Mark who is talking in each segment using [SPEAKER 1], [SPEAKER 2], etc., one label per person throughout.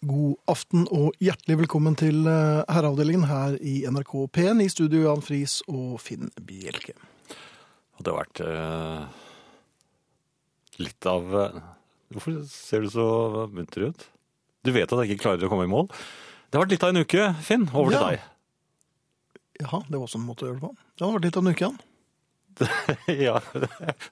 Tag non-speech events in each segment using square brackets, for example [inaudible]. [SPEAKER 1] God aften og hjertelig velkommen til eh, Herreavdelingen her i NRK P1 i studio Jan Friis og Finn Bjelke.
[SPEAKER 2] Hadde vært eh, litt av eh, Hvorfor ser du så munter ut? Du vet at jeg ikke klarer å komme i mål. Det har vært litt av en uke, Finn. Over
[SPEAKER 1] Ja.
[SPEAKER 2] til deg. [laughs]
[SPEAKER 1] Jaha, det var også en måte å gjøre det på. Det hadde vært litt av en uke, Jan.
[SPEAKER 2] ja.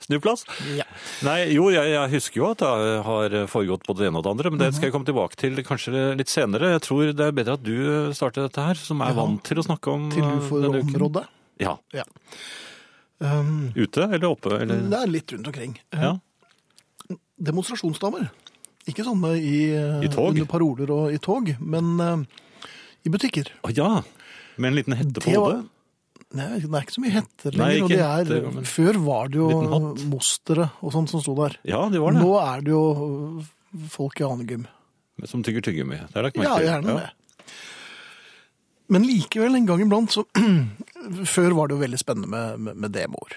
[SPEAKER 2] Snuplass.
[SPEAKER 1] Ja.
[SPEAKER 2] Nei, jo, jeg, jeg husker jo at det har foregått både det ene og det andre, men
[SPEAKER 1] Mhm.
[SPEAKER 2] det skal jeg komme tilbake til kanskje litt senere. Jeg tror det er bedre at du starter dette her, som er
[SPEAKER 1] Ja.
[SPEAKER 2] vant til å snakke om
[SPEAKER 1] Til
[SPEAKER 2] eh,
[SPEAKER 1] du får
[SPEAKER 2] denne uken.
[SPEAKER 1] området.
[SPEAKER 2] Ja.
[SPEAKER 1] Ja. Um,
[SPEAKER 2] Ute eller oppe? Eller?
[SPEAKER 1] det er litt rundt omkring. Eh,
[SPEAKER 2] Ja.
[SPEAKER 1] Demonstrasjonsdamer. Ikke sånne i, eh,
[SPEAKER 2] I tog?
[SPEAKER 1] under paroler og i tog, men eh, i butikker.
[SPEAKER 2] Å ja, med en liten hette på
[SPEAKER 1] Det var-
[SPEAKER 2] hodet.
[SPEAKER 1] Nei, det er ikke så mye hetter
[SPEAKER 2] Nei,
[SPEAKER 1] lenger. og
[SPEAKER 2] ikke
[SPEAKER 1] det er,
[SPEAKER 2] hetter, men-
[SPEAKER 1] Før var det
[SPEAKER 2] Liten
[SPEAKER 1] jo
[SPEAKER 2] hatt.
[SPEAKER 1] mostere og sånt som sto der.
[SPEAKER 2] Ja, det var det.
[SPEAKER 1] Nå er det jo øh, folk i anegym.
[SPEAKER 2] Som tygger tyggegummi. Det har jeg lagt merke
[SPEAKER 1] Ja,
[SPEAKER 2] til.
[SPEAKER 1] gjerne det. Men likevel, en gang iblant, så [clears throat] Før var det jo veldig spennende med, med, med demoer.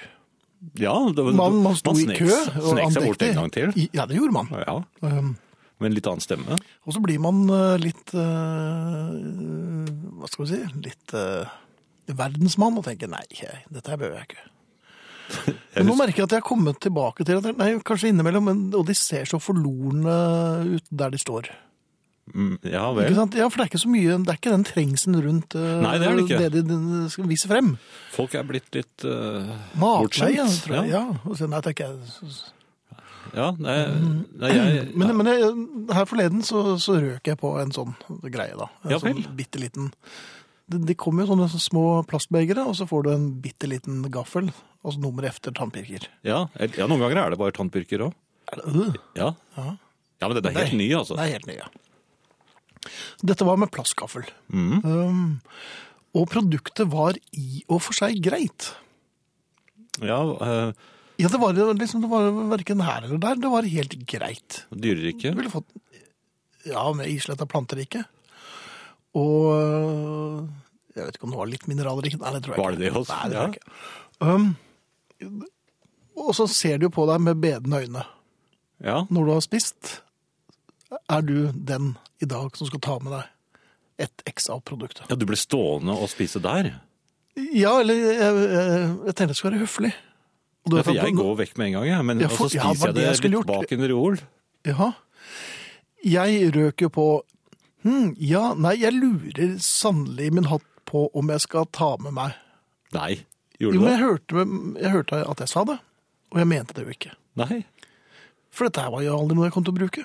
[SPEAKER 2] Ja, det, var-
[SPEAKER 1] Man, man sto i
[SPEAKER 2] snek-
[SPEAKER 1] kø. og
[SPEAKER 2] Snek seg bort
[SPEAKER 1] andekte.
[SPEAKER 2] en gang til.
[SPEAKER 1] I- Ja, det gjorde man.
[SPEAKER 2] Ja,
[SPEAKER 1] Um,
[SPEAKER 2] med en litt annen stemme.
[SPEAKER 1] Og så blir man øh, litt øh, Hva skal vi si? Litt øh, verdensmann og tenker nei, jeg- dette her behøver jeg ikke.
[SPEAKER 2] Jeg
[SPEAKER 1] Men nå
[SPEAKER 2] husker-
[SPEAKER 1] merker jeg at jeg har kommet tilbake til at, Nei, kanskje innimellom, men, og de ser så forlorne ut der de står.
[SPEAKER 2] Mm, ja
[SPEAKER 1] Ikke
[SPEAKER 2] vel.
[SPEAKER 1] sant? Ja, for det er ikke så mye Det er ikke den trengselen rundt eh,
[SPEAKER 2] Nei, det er det ikke.
[SPEAKER 1] de, de skal vise frem.
[SPEAKER 2] Folk er blitt litt eh,
[SPEAKER 1] Matleie,
[SPEAKER 2] Bortskjemt,
[SPEAKER 1] tror jeg.
[SPEAKER 2] ja.
[SPEAKER 1] Ja. og så- nei, takk, jeg.
[SPEAKER 2] Ja, nei, nei jeg
[SPEAKER 1] Mm. [clears throat] Men, men jeg, her forleden så, så røk jeg på en sånn greie, da. En
[SPEAKER 2] Ja,
[SPEAKER 1] sånn
[SPEAKER 2] vel.
[SPEAKER 1] bitte liten De, de kommer jo sånne små plastbegere, og så får du en bitte liten gaffel. Altså nummer efter tannpirker.
[SPEAKER 2] ja, el- ja, noen ganger er det bare tannpirker òg.
[SPEAKER 1] Er det, øh,
[SPEAKER 2] Ja.
[SPEAKER 1] Ja.
[SPEAKER 2] ja, men den er helt
[SPEAKER 1] Nei.
[SPEAKER 2] ny, altså.
[SPEAKER 1] det er helt nye. Dette var med plastgaffel.
[SPEAKER 2] Mhm.
[SPEAKER 1] Um, og produktet var i og for seg greit.
[SPEAKER 2] Ja, eh,
[SPEAKER 1] Ja, det var liksom, det var verken her eller der. Det var helt greit. Du
[SPEAKER 2] Dyreriket.
[SPEAKER 1] ville fått Ja, med isletta planterike. Og øh, Jeg vet ikke om det var litt mineralrikt. Nei, det tror jeg
[SPEAKER 2] Var
[SPEAKER 1] ikke.
[SPEAKER 2] det det også?
[SPEAKER 1] Nei, det tror jeg ikke. Um, og så ser de jo på deg med bedende øyne
[SPEAKER 2] Ja.
[SPEAKER 1] når du har spist. Er du den i dag som skal ta med deg et x av produktet?
[SPEAKER 2] ja, du ble stående og spise der.
[SPEAKER 1] Ja, eller jeg, jeg, jeg tenkte jeg skulle være høflig. Og du
[SPEAKER 2] Ja,
[SPEAKER 1] vet
[SPEAKER 2] for
[SPEAKER 1] at
[SPEAKER 2] jeg
[SPEAKER 1] nå-
[SPEAKER 2] går vekk med en gang, jeg. Men
[SPEAKER 1] Ja,
[SPEAKER 2] og
[SPEAKER 1] for-
[SPEAKER 2] så
[SPEAKER 1] ja,
[SPEAKER 2] spiser
[SPEAKER 1] var
[SPEAKER 2] jeg
[SPEAKER 1] det
[SPEAKER 2] det
[SPEAKER 1] jeg skulle
[SPEAKER 2] litt
[SPEAKER 1] gjort.
[SPEAKER 2] bak under ol.
[SPEAKER 1] Jaha. Jeg røk jo på hm, Ja, nei, jeg lurer sannelig min hatt på om jeg skal ta med meg
[SPEAKER 2] Nei.
[SPEAKER 1] Jo,
[SPEAKER 2] Gjorde du
[SPEAKER 1] men jeg
[SPEAKER 2] det?
[SPEAKER 1] hørte, jeg hørte at jeg sa det, og jeg mente det jo ikke.
[SPEAKER 2] Nei.
[SPEAKER 1] For dette her var jo aldri noe jeg kom til å bruke.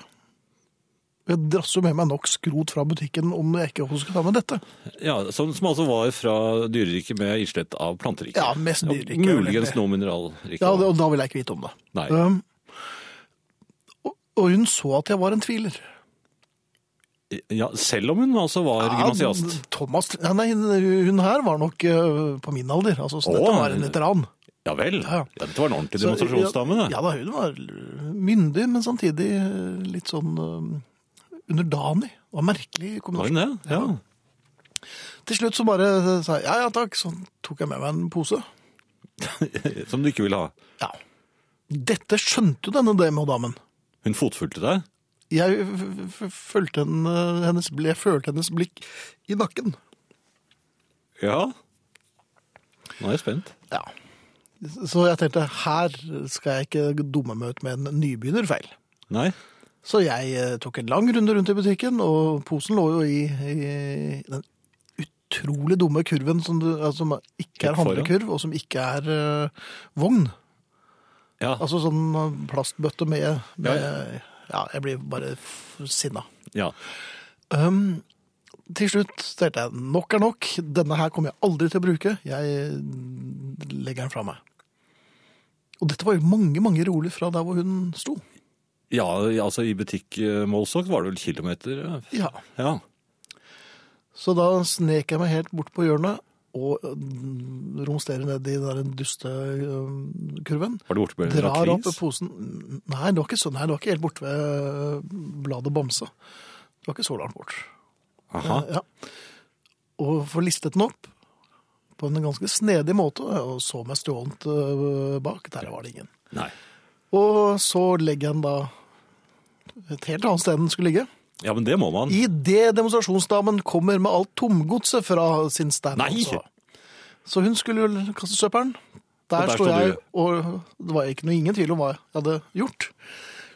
[SPEAKER 1] Jeg drasser jo med meg nok skrot fra butikken om jeg ikke også skal ta med dette.
[SPEAKER 2] Ja, som, som altså var fra dyreriket med islett av planteriket.
[SPEAKER 1] Ja, mest dyreriket,
[SPEAKER 2] Ja,
[SPEAKER 1] vel,
[SPEAKER 2] muligens
[SPEAKER 1] egentlig.
[SPEAKER 2] noe mineralriket.
[SPEAKER 1] Ja, det, Og da ville jeg ikke vite om det.
[SPEAKER 2] Nei.
[SPEAKER 1] Um, og, og hun så at jeg var en tviler.
[SPEAKER 2] Ja, selv om hun altså var gymnasiast.
[SPEAKER 1] Ja, Thomas, ja, nei, hun her var nok øh, på min alder, altså, så
[SPEAKER 2] Å.
[SPEAKER 1] dette var en veteran.
[SPEAKER 2] Ja vel.
[SPEAKER 1] Ja.
[SPEAKER 2] Ja, dette var en ordentlig
[SPEAKER 1] Så,
[SPEAKER 2] demonstrasjonsdame, det.
[SPEAKER 1] Ja, ja da, hun var myndig, men samtidig eh, litt sånn eh, underdanig. Det var merkelig
[SPEAKER 2] Var
[SPEAKER 1] kombinasjon.
[SPEAKER 2] hun det? Ja.
[SPEAKER 1] Til slutt så bare eh, sa jeg ja, ja takk, så tok jeg med meg en pose.
[SPEAKER 2] [laughs] Som du ikke ville ha.
[SPEAKER 1] Ja. Dette skjønte jo denne demodamen.
[SPEAKER 2] Hun fotfulgte deg.
[SPEAKER 1] Jeg, f- f- følte en, eh, hennes, bli- jeg følte hennes blikk i nakken.
[SPEAKER 2] Ja. Nå er jeg spent.
[SPEAKER 1] Ja. Så jeg tenkte her skal jeg ikke dumme meg ut med en nybegynnerfeil.
[SPEAKER 2] Nei.
[SPEAKER 1] Så jeg eh, tok en lang runde rundt i butikken, og posen lå jo i, i den utrolig dumme kurven som, du, altså, som ikke
[SPEAKER 2] Helt
[SPEAKER 1] er
[SPEAKER 2] foran.
[SPEAKER 1] handlekurv, og som ikke er eh, vogn.
[SPEAKER 2] Ja.
[SPEAKER 1] Altså sånn eh, plastbøtte med,
[SPEAKER 2] Ja,
[SPEAKER 1] med Ja, jeg blir bare f- sinna.
[SPEAKER 2] ja.
[SPEAKER 1] Um, til slutt tenkte jeg nok er nok. Denne her kommer jeg aldri til å bruke. Jeg legger den fra meg. Og dette var jo mange, mange roller fra der hvor hun sto.
[SPEAKER 2] Ja, altså i butikkmålsokk var det vel kilometer. ja.
[SPEAKER 1] Ja.
[SPEAKER 2] Ja.
[SPEAKER 1] Så da snek jeg meg helt bort på hjørnet og øh, romsterer ned i den der duste øh, kurven.
[SPEAKER 2] Var det borte med en
[SPEAKER 1] Drar opp
[SPEAKER 2] lakris?
[SPEAKER 1] posen Nei, det var ikke sånn her. Det var ikke helt borte ved øh, bladet Bamse. Det var ikke så langt bort.
[SPEAKER 2] Aha.
[SPEAKER 1] Eh, Ja. Og får listet den opp på en ganske snedig måte, og så meg stjålent øh, bak. Der var det ingen.
[SPEAKER 2] Nei.
[SPEAKER 1] Og så legger jeg den da et helt annet sted enn den skulle ligge.
[SPEAKER 2] Ja, men det må man.
[SPEAKER 1] Idet demonstrasjonsdamen kommer med alt tomgodset fra sin stand.
[SPEAKER 2] Nei!
[SPEAKER 1] altså. Så hun skulle jo kaste søppelen. Der,
[SPEAKER 2] Og der
[SPEAKER 1] sto
[SPEAKER 2] sto
[SPEAKER 1] jeg,
[SPEAKER 2] du.
[SPEAKER 1] og det var ikke noe ingen tvil om hva jeg hadde gjort.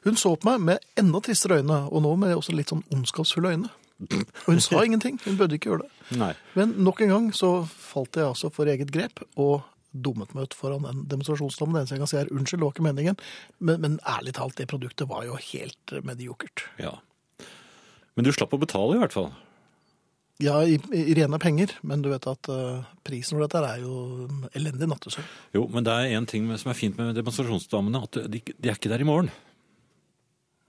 [SPEAKER 1] Hun så på meg med enda tristere øyne, og nå med også litt sånn ondskapsfulle øyne. Og hun
[SPEAKER 2] [laughs]
[SPEAKER 1] sa ingenting, hun bødde ikke gjøre det.
[SPEAKER 2] Nei.
[SPEAKER 1] Men nok en gang så falt jeg altså for eget grep, og dummet meg ut foran en demonstrasjonsdom. Det eneste jeg kan si er unnskyld, det var ikke meningen. Men, men ærlig talt, det produktet var jo helt mediokert.
[SPEAKER 2] Ja. Men du slapp å betale i hvert fall.
[SPEAKER 1] Ja, i, i rene penger, men du vet at eh, prisen for dette her er jo elendig nattesøvn.
[SPEAKER 2] Jo, men det er en ting med- som er fint med demonstrasjonsdamene, at de, de er ikke der i morgen.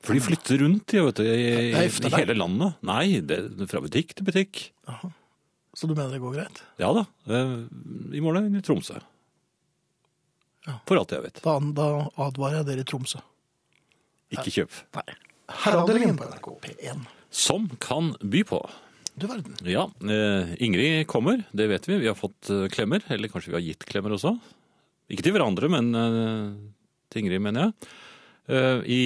[SPEAKER 2] For de flytter rundt de, vet du, i,
[SPEAKER 1] Det er efter
[SPEAKER 2] i
[SPEAKER 1] deg.
[SPEAKER 2] hele landet. Nei, det, fra butikk til butikk.
[SPEAKER 1] Jaha. Så du mener det går greit?
[SPEAKER 2] Ja da, eh, i morgen er de i Tromsø.
[SPEAKER 1] Ja.
[SPEAKER 2] For alt jeg vet.
[SPEAKER 1] Da, da advarer jeg dere i Tromsø.
[SPEAKER 2] Ikke kjøp.
[SPEAKER 1] Herreavdelingen på NRK P1.
[SPEAKER 2] Som kan by på.
[SPEAKER 1] Du verden.
[SPEAKER 2] Ja, eh, Ingrid kommer, det vet vi. Vi har fått eh, klemmer, eller kanskje vi har gitt klemmer også. Ikke til hverandre, men eh, til Ingrid, mener jeg. Eh, I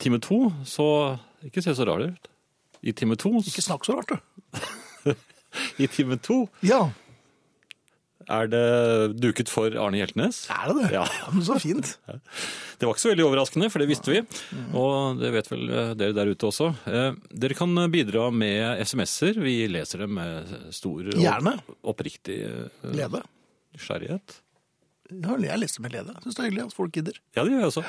[SPEAKER 2] time to, så Ikke se så rar ut. I time to,
[SPEAKER 1] Ikke snakk så rart, du.
[SPEAKER 2] [laughs] I time to
[SPEAKER 1] Ja,
[SPEAKER 2] er det duket for Arne Hjeltnes.
[SPEAKER 1] er det det?
[SPEAKER 2] Ja.
[SPEAKER 1] men så fint.
[SPEAKER 2] Det var ikke så veldig overraskende, for det visste vi. Og det vet vel eh, dere der ute også. Eh, Dere kan bidra med SMS-er. Vi leser dem med stor og
[SPEAKER 1] Gjerne.
[SPEAKER 2] oppriktig eh,
[SPEAKER 1] Glede.
[SPEAKER 2] nysgjerrighet.
[SPEAKER 1] Ja, jeg leser med glede. Syns det er hyggelig at folk gidder.
[SPEAKER 2] Ja, det gjør jeg også.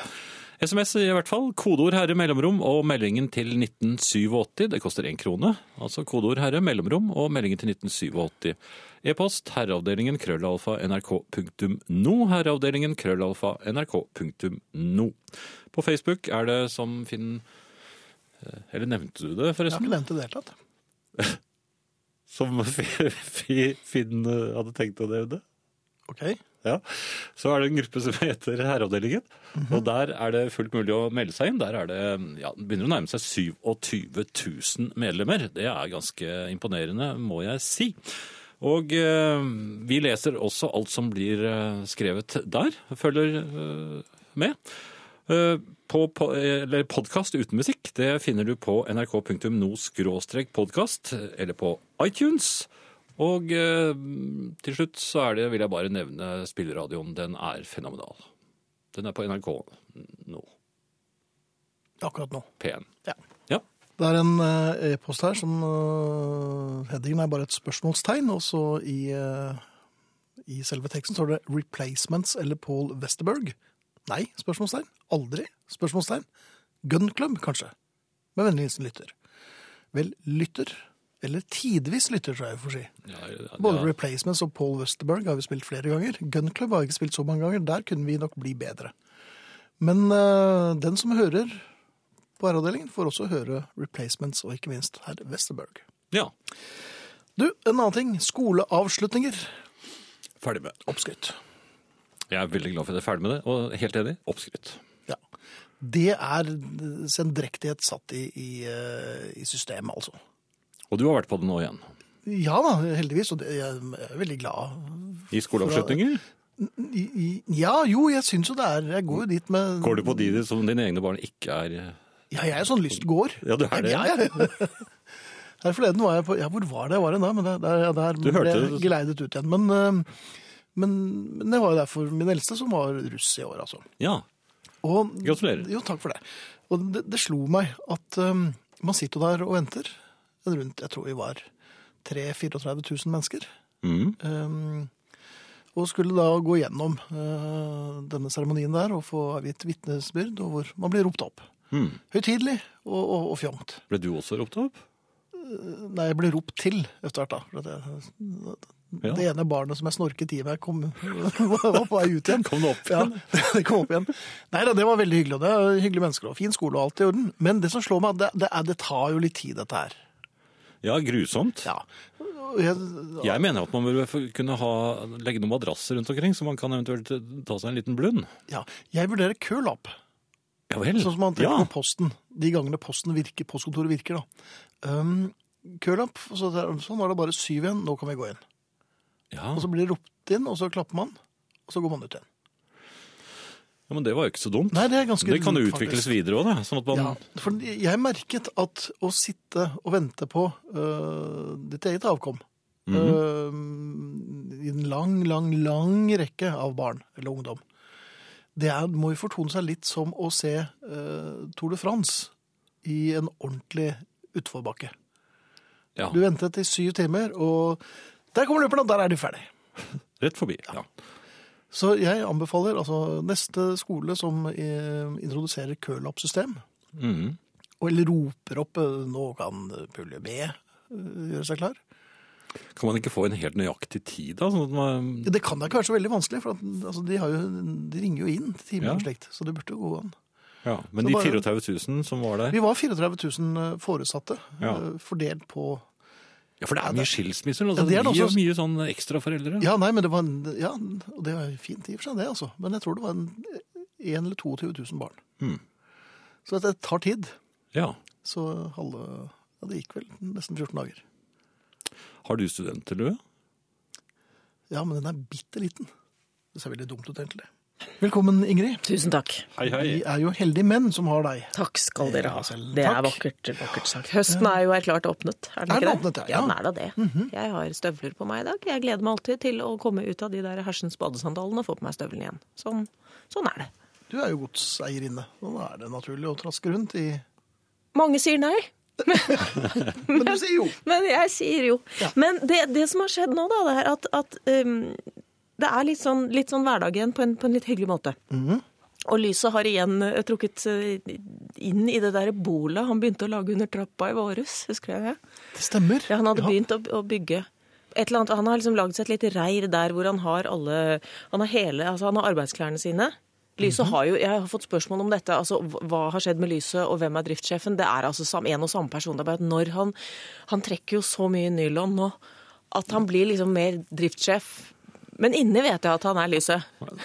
[SPEAKER 2] SMS i hvert fall. Kodeord herre mellomrom og meldingen til 1987. Det koster én krone. Altså kodeord herre mellomrom og meldingen til 1987. E-post herreavdelingen krøllalfa nrk.no. Herreavdelingen krøllalfa nrk.no. På Facebook er det som Finn eh, Eller nevnte du det,
[SPEAKER 1] Jeg har
[SPEAKER 2] forresten?
[SPEAKER 1] ikke nevnt det i det hele tatt.
[SPEAKER 2] Som Finn eh, hadde tenkt å nevne?
[SPEAKER 1] Ok.
[SPEAKER 2] Ja. Så er det en gruppe som heter Herreavdelingen. Og der er det fullt mulig å melde seg inn. Der er det, ja, det begynner å nærme seg 27 000 medlemmer. Det er ganske imponerende, må jeg si. Og eh, vi leser også alt som blir eh, skrevet der. Følger eh, med. Eh, på, på, eh, eller podkast uten musikk, det finner du på nrk.no-podkast, eh, eller på iTunes. Og eh, til slutt så er det, vil jeg bare nevne spilleradioen. Den er fenomenal. Den er på NRK nå.
[SPEAKER 1] Akkurat nå.
[SPEAKER 2] P1.
[SPEAKER 1] Ja.
[SPEAKER 2] Ja.
[SPEAKER 1] Det er en eh, e-post her som eh, Headingen er bare et spørsmålstegn, og så i, eh, i selve teksten står det 'Replacements' eller Paul Westerberg. Nei, spørsmålstegn. Aldri. Spørsmålstegn. Gun Club, kanskje. Med vennlig hilsen lytter. Vel, lytter. Eller tidvis lytter, tror jeg vi får si.
[SPEAKER 2] Ja, ja,
[SPEAKER 1] Både
[SPEAKER 2] ja.
[SPEAKER 1] Replacements og Paul Westerberg har vi spilt flere ganger. Gun Club har jeg ikke spilt så mange ganger. Der kunne vi nok bli bedre. Men eh, den som hører på R-avdelingen, får også høre Replacements og ikke minst herr Westerberg.
[SPEAKER 2] ja.
[SPEAKER 1] Du, en annen ting. Skoleavslutninger.
[SPEAKER 2] Ferdig med.
[SPEAKER 1] Oppskrytt.
[SPEAKER 2] Jeg er veldig glad for at jeg er ferdig med det, og helt enig. Oppskrytt.
[SPEAKER 1] Ja. Det er sendrektighet satt i, i, eh, i systemet, altså.
[SPEAKER 2] Og du har vært på det nå igjen.
[SPEAKER 1] Ja da, heldigvis. Og det, jeg er veldig glad.
[SPEAKER 2] I skoleavslutninger.
[SPEAKER 1] I, i, ja, jo, jeg syns jo det er Jeg går jo dit med
[SPEAKER 2] Går du på de som dine egne barn ikke er eh,
[SPEAKER 1] Ja, jeg er sånn lystgåer.
[SPEAKER 2] Ja, du er det.
[SPEAKER 1] Ja, ja. [laughs] Her forleden var jeg på Ja, hvor var det jeg var hen da? Men der, der, ja, der
[SPEAKER 2] Du hørte
[SPEAKER 1] ble
[SPEAKER 2] det.
[SPEAKER 1] jeg geleidet ut igjen. Men, eh, men, men det var jo derfor min eldste som var russ i år, altså.
[SPEAKER 2] Ja.
[SPEAKER 1] Og,
[SPEAKER 2] Gratulerer.
[SPEAKER 1] Jo, takk for det. Og det, det slo meg at eh, man sitter jo der og venter. Rundt, jeg tror vi var 3-34 000 mennesker.
[SPEAKER 2] Mm.
[SPEAKER 1] Eh, og skulle da gå gjennom eh, denne seremonien der og få avgitt vitnesbyrd, og hvor man blir ropt opp.
[SPEAKER 2] Mm.
[SPEAKER 1] Høytidelig og, og, og fjongt.
[SPEAKER 2] Ble du også ropt opp?
[SPEAKER 1] Nei, jeg ble ropt til etter hvert, da. For at jeg,
[SPEAKER 2] Ja.
[SPEAKER 1] Det ene barnet som jeg snorket i meg, kom, [laughs] var på vei ut igjen.
[SPEAKER 2] Kom det opp
[SPEAKER 1] [laughs] Ja,
[SPEAKER 2] igjen?
[SPEAKER 1] det kom opp igjen. Nei da, det var veldig hyggelig. og det er Hyggelige mennesker og fin skole og alt i orden. Men det som slår meg, det, det, er, det tar jo litt tid, dette her.
[SPEAKER 2] Ja, grusomt.
[SPEAKER 1] Ja. Og Jeg,
[SPEAKER 2] Jeg mener at man burde få- kunne ha, legge noen madrasser rundt omkring, så man kan eventuelt eh, ta seg en liten blund.
[SPEAKER 1] ja. jeg vurderer kølapp,
[SPEAKER 2] Ja vel.
[SPEAKER 1] sånn som man trekker
[SPEAKER 2] ja.
[SPEAKER 1] på posten. De gangene posten virker, postkontoret virker, da. Um, kølapp, så det er- sånn var det bare syv igjen, nå kan vi gå inn.
[SPEAKER 2] Ja.
[SPEAKER 1] Og så blir det ropt inn, og så klapper man, og så går man ut igjen.
[SPEAKER 2] Ja, men det var jo ikke så dumt.
[SPEAKER 1] Nei, det er ganske
[SPEAKER 2] det kan jo
[SPEAKER 1] lurt,
[SPEAKER 2] utvikles
[SPEAKER 1] faktisk.
[SPEAKER 2] videre òg, det. Sånn at man
[SPEAKER 1] Ja, for jeg merket at å sitte og vente på øh, ditt eget avkom øh, I en lang, lang, lang rekke av barn eller ungdom. Det er, må jo fortone seg litt som å se øh, Tour de France i en ordentlig utforbakke.
[SPEAKER 2] ja,
[SPEAKER 1] Du ventet i syv timer, og der kommer løperne, og der er de ferdig.
[SPEAKER 2] rett forbi. Ja.
[SPEAKER 1] Så jeg anbefaler altså neste skole som eh, introduserer kølappsystem,
[SPEAKER 2] Mhm.
[SPEAKER 1] og eller roper opp eh, nå kan pulje B eh, gjøre seg klar.
[SPEAKER 2] Kan man ikke få en helt nøyaktig tid, da? Sånn at man
[SPEAKER 1] Ja, Det kan da ikke være så veldig vanskelig, for at, altså, de, har jo, de ringer jo inn til timer
[SPEAKER 2] Ja.
[SPEAKER 1] og slikt, så det burde jo gå an.
[SPEAKER 2] Ja, men
[SPEAKER 1] Så
[SPEAKER 2] de
[SPEAKER 1] bare-
[SPEAKER 2] 34 000 som var der
[SPEAKER 1] Vi var 34 000 foresatte,
[SPEAKER 2] Ja.
[SPEAKER 1] eh, fordelt på
[SPEAKER 2] Ja, for det er mye skilsmisser.
[SPEAKER 1] Ja,
[SPEAKER 2] Altså,
[SPEAKER 1] det er det
[SPEAKER 2] de
[SPEAKER 1] også.
[SPEAKER 2] er mye sånn ekstraforeldre.
[SPEAKER 1] Ja, nei, men det var, en- ja, og det var fint i og for seg det, altså. Men jeg tror det var en, en eller 22 000 barn.
[SPEAKER 2] Mhm.
[SPEAKER 1] Så dette tar tid,
[SPEAKER 2] ja.
[SPEAKER 1] så halve, ja, det gikk vel nesten 14 dager.
[SPEAKER 2] Har du studentlue?
[SPEAKER 1] Ja, men den er bitte liten. Det ser veldig dumt ut, egentlig. Velkommen, Ingrid.
[SPEAKER 3] Tusen takk.
[SPEAKER 2] Hei,
[SPEAKER 1] Vi er jo heldige menn som har deg.
[SPEAKER 3] Takk skal dere
[SPEAKER 1] Ja,
[SPEAKER 3] ha.
[SPEAKER 1] selv
[SPEAKER 3] Det er
[SPEAKER 1] takk.
[SPEAKER 3] vakkert, vakkert sagt. Høsten er jo erklært åpnet, er den
[SPEAKER 1] Er
[SPEAKER 3] ikke
[SPEAKER 1] den
[SPEAKER 3] det?
[SPEAKER 1] åpnet, ja? Mhm.
[SPEAKER 3] ja, den er da det. Jeg har støvler på meg i dag. Jeg gleder meg alltid til å komme ut av de der hersens badesandalene og få på meg støvlene igjen. Sånn, sånn er det.
[SPEAKER 1] Du er jo godseierinne. Nå er det naturlig å traske rundt i
[SPEAKER 3] Mange sier nei.
[SPEAKER 1] Men du sier jo!
[SPEAKER 3] Men jeg sier jo.
[SPEAKER 1] Ja.
[SPEAKER 3] Men det, det som har skjedd nå, da, det er at, at um, det er litt sånn, litt sånn hverdag igjen på en, på en litt hyggelig måte.
[SPEAKER 1] Mhm.
[SPEAKER 3] Og lyset har igjen eh, trukket eh, inn i det derre bolet han begynte å lage under trappa i våres. Husker jeg det?
[SPEAKER 1] [laughs] Det stemmer.
[SPEAKER 3] Ja, han hadde
[SPEAKER 1] Ja.
[SPEAKER 3] begynt å, å bygge. Et eller annet, han har liksom lagd seg et lite reir der hvor han har alle Han har hele, altså han har arbeidsklærne sine. Lyset har jo Jeg har fått spørsmål om dette. altså hva- Hva har skjedd med lyset, og hvem er driftssjefen? Det er altså sam, en og samme person. Det er bare at når han Han trekker jo så mye nylon nå at han blir liksom mer driftssjef. Men inni vet jeg at han er lyset.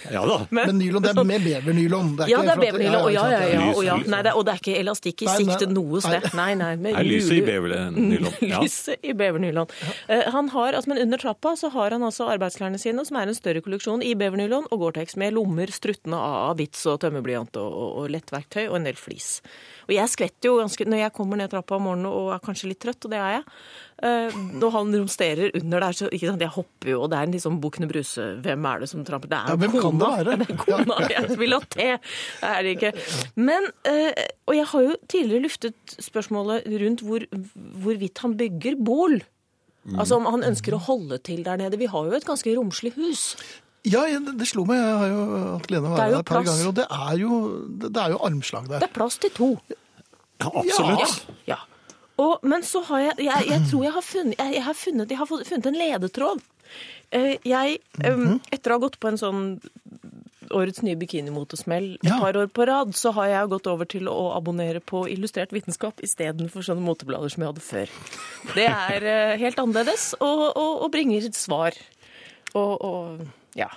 [SPEAKER 2] Ja da.
[SPEAKER 1] Men nylon, det er med bevernylon. Det
[SPEAKER 3] Ja, det er
[SPEAKER 1] for at-
[SPEAKER 3] babynylon. Og ja, ja, ja.
[SPEAKER 2] Lys-
[SPEAKER 3] Og, ja.
[SPEAKER 2] lys-
[SPEAKER 3] Nei, det, er- og det er ikke elastikk i
[SPEAKER 1] Nei, nei,
[SPEAKER 3] sikte noe
[SPEAKER 1] nei.
[SPEAKER 3] sted. Nei, nei. med
[SPEAKER 2] Er lyset i
[SPEAKER 3] lue- [laughs]
[SPEAKER 2] bevernylon? Ja.
[SPEAKER 3] Lyset i bevernylon. Eh, Han har, altså, men under trappa så har han altså arbeidsklærne sine, som er en større kolleksjon i bevernylon og Gore-Tex med lommer struttende av bits og tømmerblyant og, og, og lettverktøy og en del flis. Og jeg skvetter jo ganske når jeg kommer ned trappa om morgenen og er kanskje litt trøtt, og det er jeg. eh, Når han romsterer under der, så ikke sant, jeg hopper jo, og det er en liksom Bukkene Bruse Hvem er det som tramper? Det er
[SPEAKER 1] Ja, hvem kan det
[SPEAKER 3] kona.
[SPEAKER 1] være?
[SPEAKER 3] Ja, [laughs] det er kona. Jeg vil ha te. Det er det ikke. Men, eh, og jeg har jo tidligere luftet spørsmålet rundt hvor, hvorvidt han bygger bål. Altså om han ønsker å holde til der nede. Vi har jo et ganske romslig hus.
[SPEAKER 1] Ja, ja, det det slo meg. Jeg har jo hatt Lene
[SPEAKER 3] Det er
[SPEAKER 1] Ware
[SPEAKER 3] jo
[SPEAKER 1] der et par
[SPEAKER 3] plass.
[SPEAKER 1] ganger, og det er jo, det, det er jo armslag der.
[SPEAKER 3] Det er plass til to.
[SPEAKER 2] Ja, absolutt.
[SPEAKER 1] Ja.
[SPEAKER 3] Ja. Og, men så har jeg Jeg, jeg tror jeg har funnet jeg, jeg, har funnet, jeg har fått- funnet en ledetråd. Eh, Jeg, eh,
[SPEAKER 1] Mhm.
[SPEAKER 3] etter å ha gått på en sånn årets nye bikinimotesmell et
[SPEAKER 1] Ja.
[SPEAKER 3] par år på rad, så har jeg gått over til å abonnere på Illustrert vitenskap istedenfor sånne moteblader som jeg hadde før. Det er eh, helt annerledes og, og, og bringer svar. Og, og ja.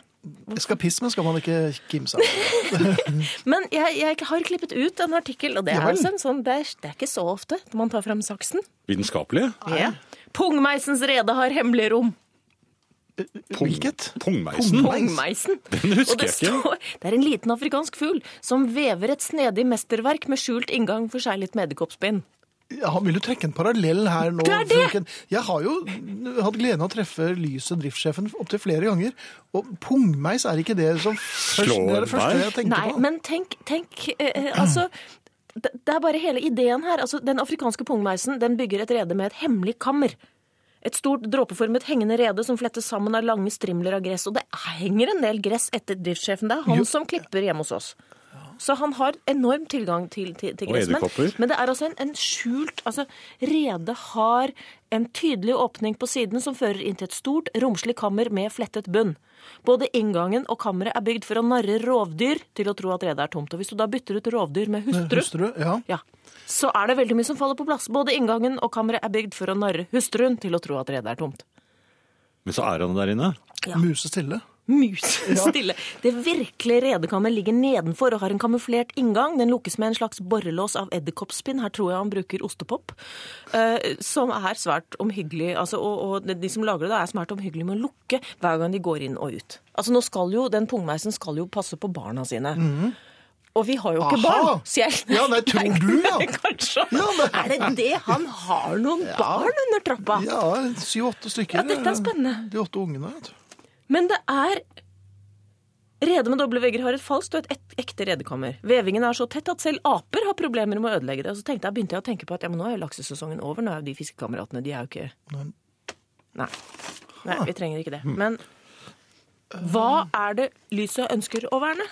[SPEAKER 1] Eskapisme skal man ikke kimse av.
[SPEAKER 3] Men jeg, jeg har klippet ut en artikkel, og det
[SPEAKER 1] Ja
[SPEAKER 3] er,
[SPEAKER 1] vel.
[SPEAKER 3] altså en sånn, det er, det er ikke så ofte når man tar fram saksen.
[SPEAKER 2] Vitenskapelige?
[SPEAKER 3] Ja. Pungmeisens rede har hemmelig rom.
[SPEAKER 1] Hvilket?
[SPEAKER 2] Pungmeisen?
[SPEAKER 1] Pungmeis.
[SPEAKER 3] Pungmeisen.
[SPEAKER 2] Den husker
[SPEAKER 3] Og det,
[SPEAKER 2] jeg ikke.
[SPEAKER 3] står, det er en liten afrikansk fugl som vever et snedig mesterverk med skjult inngang forseglet med edderkoppspinn.
[SPEAKER 1] Ja, vil du trekke en parallell her nå?
[SPEAKER 3] Det er det!
[SPEAKER 1] frøken? Jeg har jo hatt gleden av å treffe Lyset driftssjefen opptil flere ganger. Og pungmeis er ikke det som først,
[SPEAKER 2] Slår
[SPEAKER 1] det er det første
[SPEAKER 2] meg.
[SPEAKER 1] jeg tenker
[SPEAKER 3] Nei,
[SPEAKER 1] på.
[SPEAKER 3] men tenk, tenk eh, eh, Altså, det, det er bare hele ideen her. Altså, den afrikanske pungmeisen den bygger et rede med et hemmelig kammer. Et stort dråpeformet hengende rede som flettes sammen av lange strimler av gress. Og det henger en del gress etter driftssjefen. Det er han som klipper hjemme hos oss. Så han har enorm tilgang til, til, til
[SPEAKER 2] Og
[SPEAKER 3] gress. Men,
[SPEAKER 2] edderkopper.
[SPEAKER 3] men det er altså en, en skjult altså Redet har en tydelig åpning på siden som fører inn til et stort, romslig kammer med flettet bunn. Både inngangen og kammeret er bygd for å narre rovdyr til å tro at redet er tomt. Og hvis du da bytter ut rovdyr med hustru,
[SPEAKER 1] Husker du? Ja.
[SPEAKER 3] ja, så er det veldig mye som faller på plass. Både inngangen og kammeret er bygd for å narre hustruen til å tro at redet er tomt.
[SPEAKER 2] Men så er han der inne.
[SPEAKER 3] Ja.
[SPEAKER 1] Musestille.
[SPEAKER 3] [laughs] musestille. Det virkelige redekammet ligger nedenfor og har en kamuflert inngang. Den lukkes med en slags borrelås av edderkoppspinn. Her tror jeg han bruker ostepop. eh, Som er svært omhyggelig. Altså, og, og de som lager det, da, er svært omhyggelig med å lukke hver gang de går inn og ut. Altså, nå skal jo, Den pungmeisen skal jo passe på barna sine. Og vi har jo ikke
[SPEAKER 1] Mhm. Aha!
[SPEAKER 3] barn, så jeg
[SPEAKER 1] Ja, nei, tror du, ja.
[SPEAKER 3] [laughs] Kanskje.
[SPEAKER 1] Ja, nei.
[SPEAKER 3] Er det det han har noen barn under trappa?
[SPEAKER 1] Ja, syv-åtte stykker.
[SPEAKER 3] Ja, dette er spennende.
[SPEAKER 1] De åtte ungene. vet du.
[SPEAKER 3] Men det er Redet med doble vegger har et falskt og et ek- ekte redekammer. Vevingen er så tett at selv aper har problemer med å ødelegge det. Og så tenkte jeg, begynte jeg å tenke på at ja, men nå er jo laksesesongen over. Nå er jo de fiskekameratene De er jo ikke
[SPEAKER 1] Nei.
[SPEAKER 3] Nei. Nei, vi trenger ikke det. Men hva er det lyset ønsker å verne?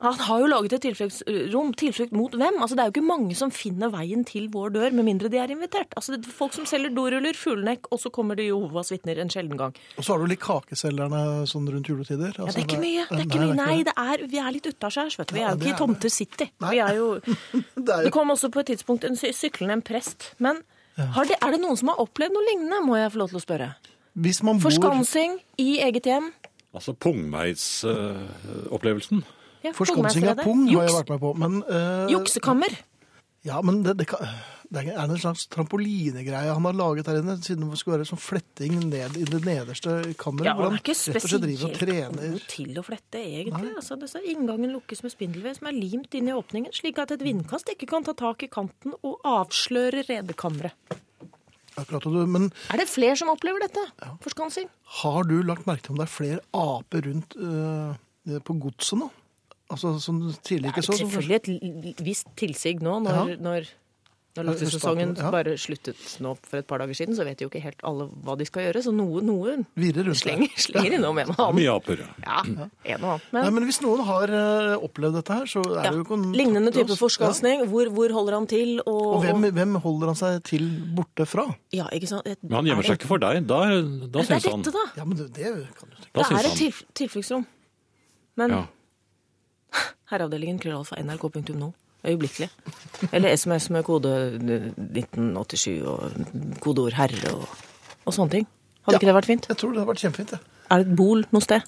[SPEAKER 3] Han har jo laget et tilfluktsrom. Tilflukt mot hvem? Altså, det er jo ikke mange som finner veien til vår dør, med mindre de er invitert. Altså, det er folk som selger doruller, fuglenekk, og så kommer det Jehovas vitner en sjelden gang.
[SPEAKER 1] Og så har du litt kakeselgerne sånn rundt juletider.
[SPEAKER 3] Ja,
[SPEAKER 1] Altså,
[SPEAKER 3] det er ikke mye. Det er ikke mye. Nei, det er, vi er litt utaskjærs, vet du. Vi er
[SPEAKER 1] Ja,
[SPEAKER 3] jo
[SPEAKER 1] det
[SPEAKER 3] ikke i
[SPEAKER 1] er det.
[SPEAKER 3] Tomter City.
[SPEAKER 1] [laughs] Nei.
[SPEAKER 3] Vi er jo
[SPEAKER 1] det. Det er
[SPEAKER 3] Det
[SPEAKER 1] jo
[SPEAKER 3] kom også på et tidspunkt en sy- syklende en prest. Men har det, er det noen som har opplevd noe lignende, må jeg få lov til å spørre?
[SPEAKER 1] Hvis man bor
[SPEAKER 3] Forskansing i eget hjem.
[SPEAKER 2] Altså eh, pungmeisopplevelsen.
[SPEAKER 3] Ja,
[SPEAKER 1] Forskansing av
[SPEAKER 3] pungmeisterleder.
[SPEAKER 1] pung har jeg
[SPEAKER 3] Juks-
[SPEAKER 1] vært med på, men eh,
[SPEAKER 3] Juksekammer.
[SPEAKER 1] Ja, men det, det, kan, det er en slags trampolinegreie han har laget her inne, siden det skulle være sånn fletting ned i det nederste kammeret.
[SPEAKER 3] Ja,
[SPEAKER 1] hvor
[SPEAKER 3] han er ikke
[SPEAKER 1] rett og slett
[SPEAKER 3] spesielt
[SPEAKER 1] driver og trener.
[SPEAKER 3] god til å flette, egentlig. Altså, det så inngangen lukkes med spindelvev som er limt inn i åpningen, slik at et vindkast ikke kan ta tak i kanten og avsløre redekammeret.
[SPEAKER 1] Akkurat, og du, men
[SPEAKER 3] Er det flere som opplever dette? Forskansing?
[SPEAKER 1] har du lagt merke til om det er flere aper rundt eh, på godset nå? Altså, som du tidligere ikke så. så-
[SPEAKER 3] Selvfølgelig et l- l- visst tilsig nå, når,
[SPEAKER 1] Ja.
[SPEAKER 3] når, når laksesesongen
[SPEAKER 1] Ja.
[SPEAKER 3] bare sluttet nå for et par dager siden, så vet jo ikke helt alle hva de skal gjøre, så noe, noen
[SPEAKER 1] Virrer rundt
[SPEAKER 3] slenger, slenger innom en og annen.
[SPEAKER 2] Mye aper. ja.
[SPEAKER 3] Ja, en og annen.
[SPEAKER 1] Nei,
[SPEAKER 3] Men,
[SPEAKER 1] men hvis noen har eh, opplevd dette her, så er det jo
[SPEAKER 3] ja,
[SPEAKER 1] kontakt
[SPEAKER 3] lignende
[SPEAKER 1] til
[SPEAKER 3] type
[SPEAKER 1] oss.
[SPEAKER 3] forskansning. Hvor, hvor holder han til? Og,
[SPEAKER 1] Ja. Og hvem,
[SPEAKER 3] og-
[SPEAKER 1] hvem holder han seg til borte fra?
[SPEAKER 3] ja, ikke sant? Et-
[SPEAKER 2] Men han gjemmer seg
[SPEAKER 3] er det-
[SPEAKER 2] ikke for deg. Da, da
[SPEAKER 3] Det er
[SPEAKER 2] syns han
[SPEAKER 3] dette, da.
[SPEAKER 1] Ja, men det, det kan du tenke.
[SPEAKER 2] Da
[SPEAKER 3] Det
[SPEAKER 2] syns
[SPEAKER 3] er et
[SPEAKER 2] han.
[SPEAKER 3] tilf tilfluktsrom. Men
[SPEAKER 2] Ja.
[SPEAKER 3] Herreavdelingen krøllalfa nrk.no. Øyeblikkelig. Eller SMS med kode 1987 og kodeord 'herre' og, og sånne ting. Hadde
[SPEAKER 1] Ja.
[SPEAKER 3] ikke det vært fint?
[SPEAKER 1] Jeg tror det har vært kjempefint, det.
[SPEAKER 3] Er det et bol noe sted?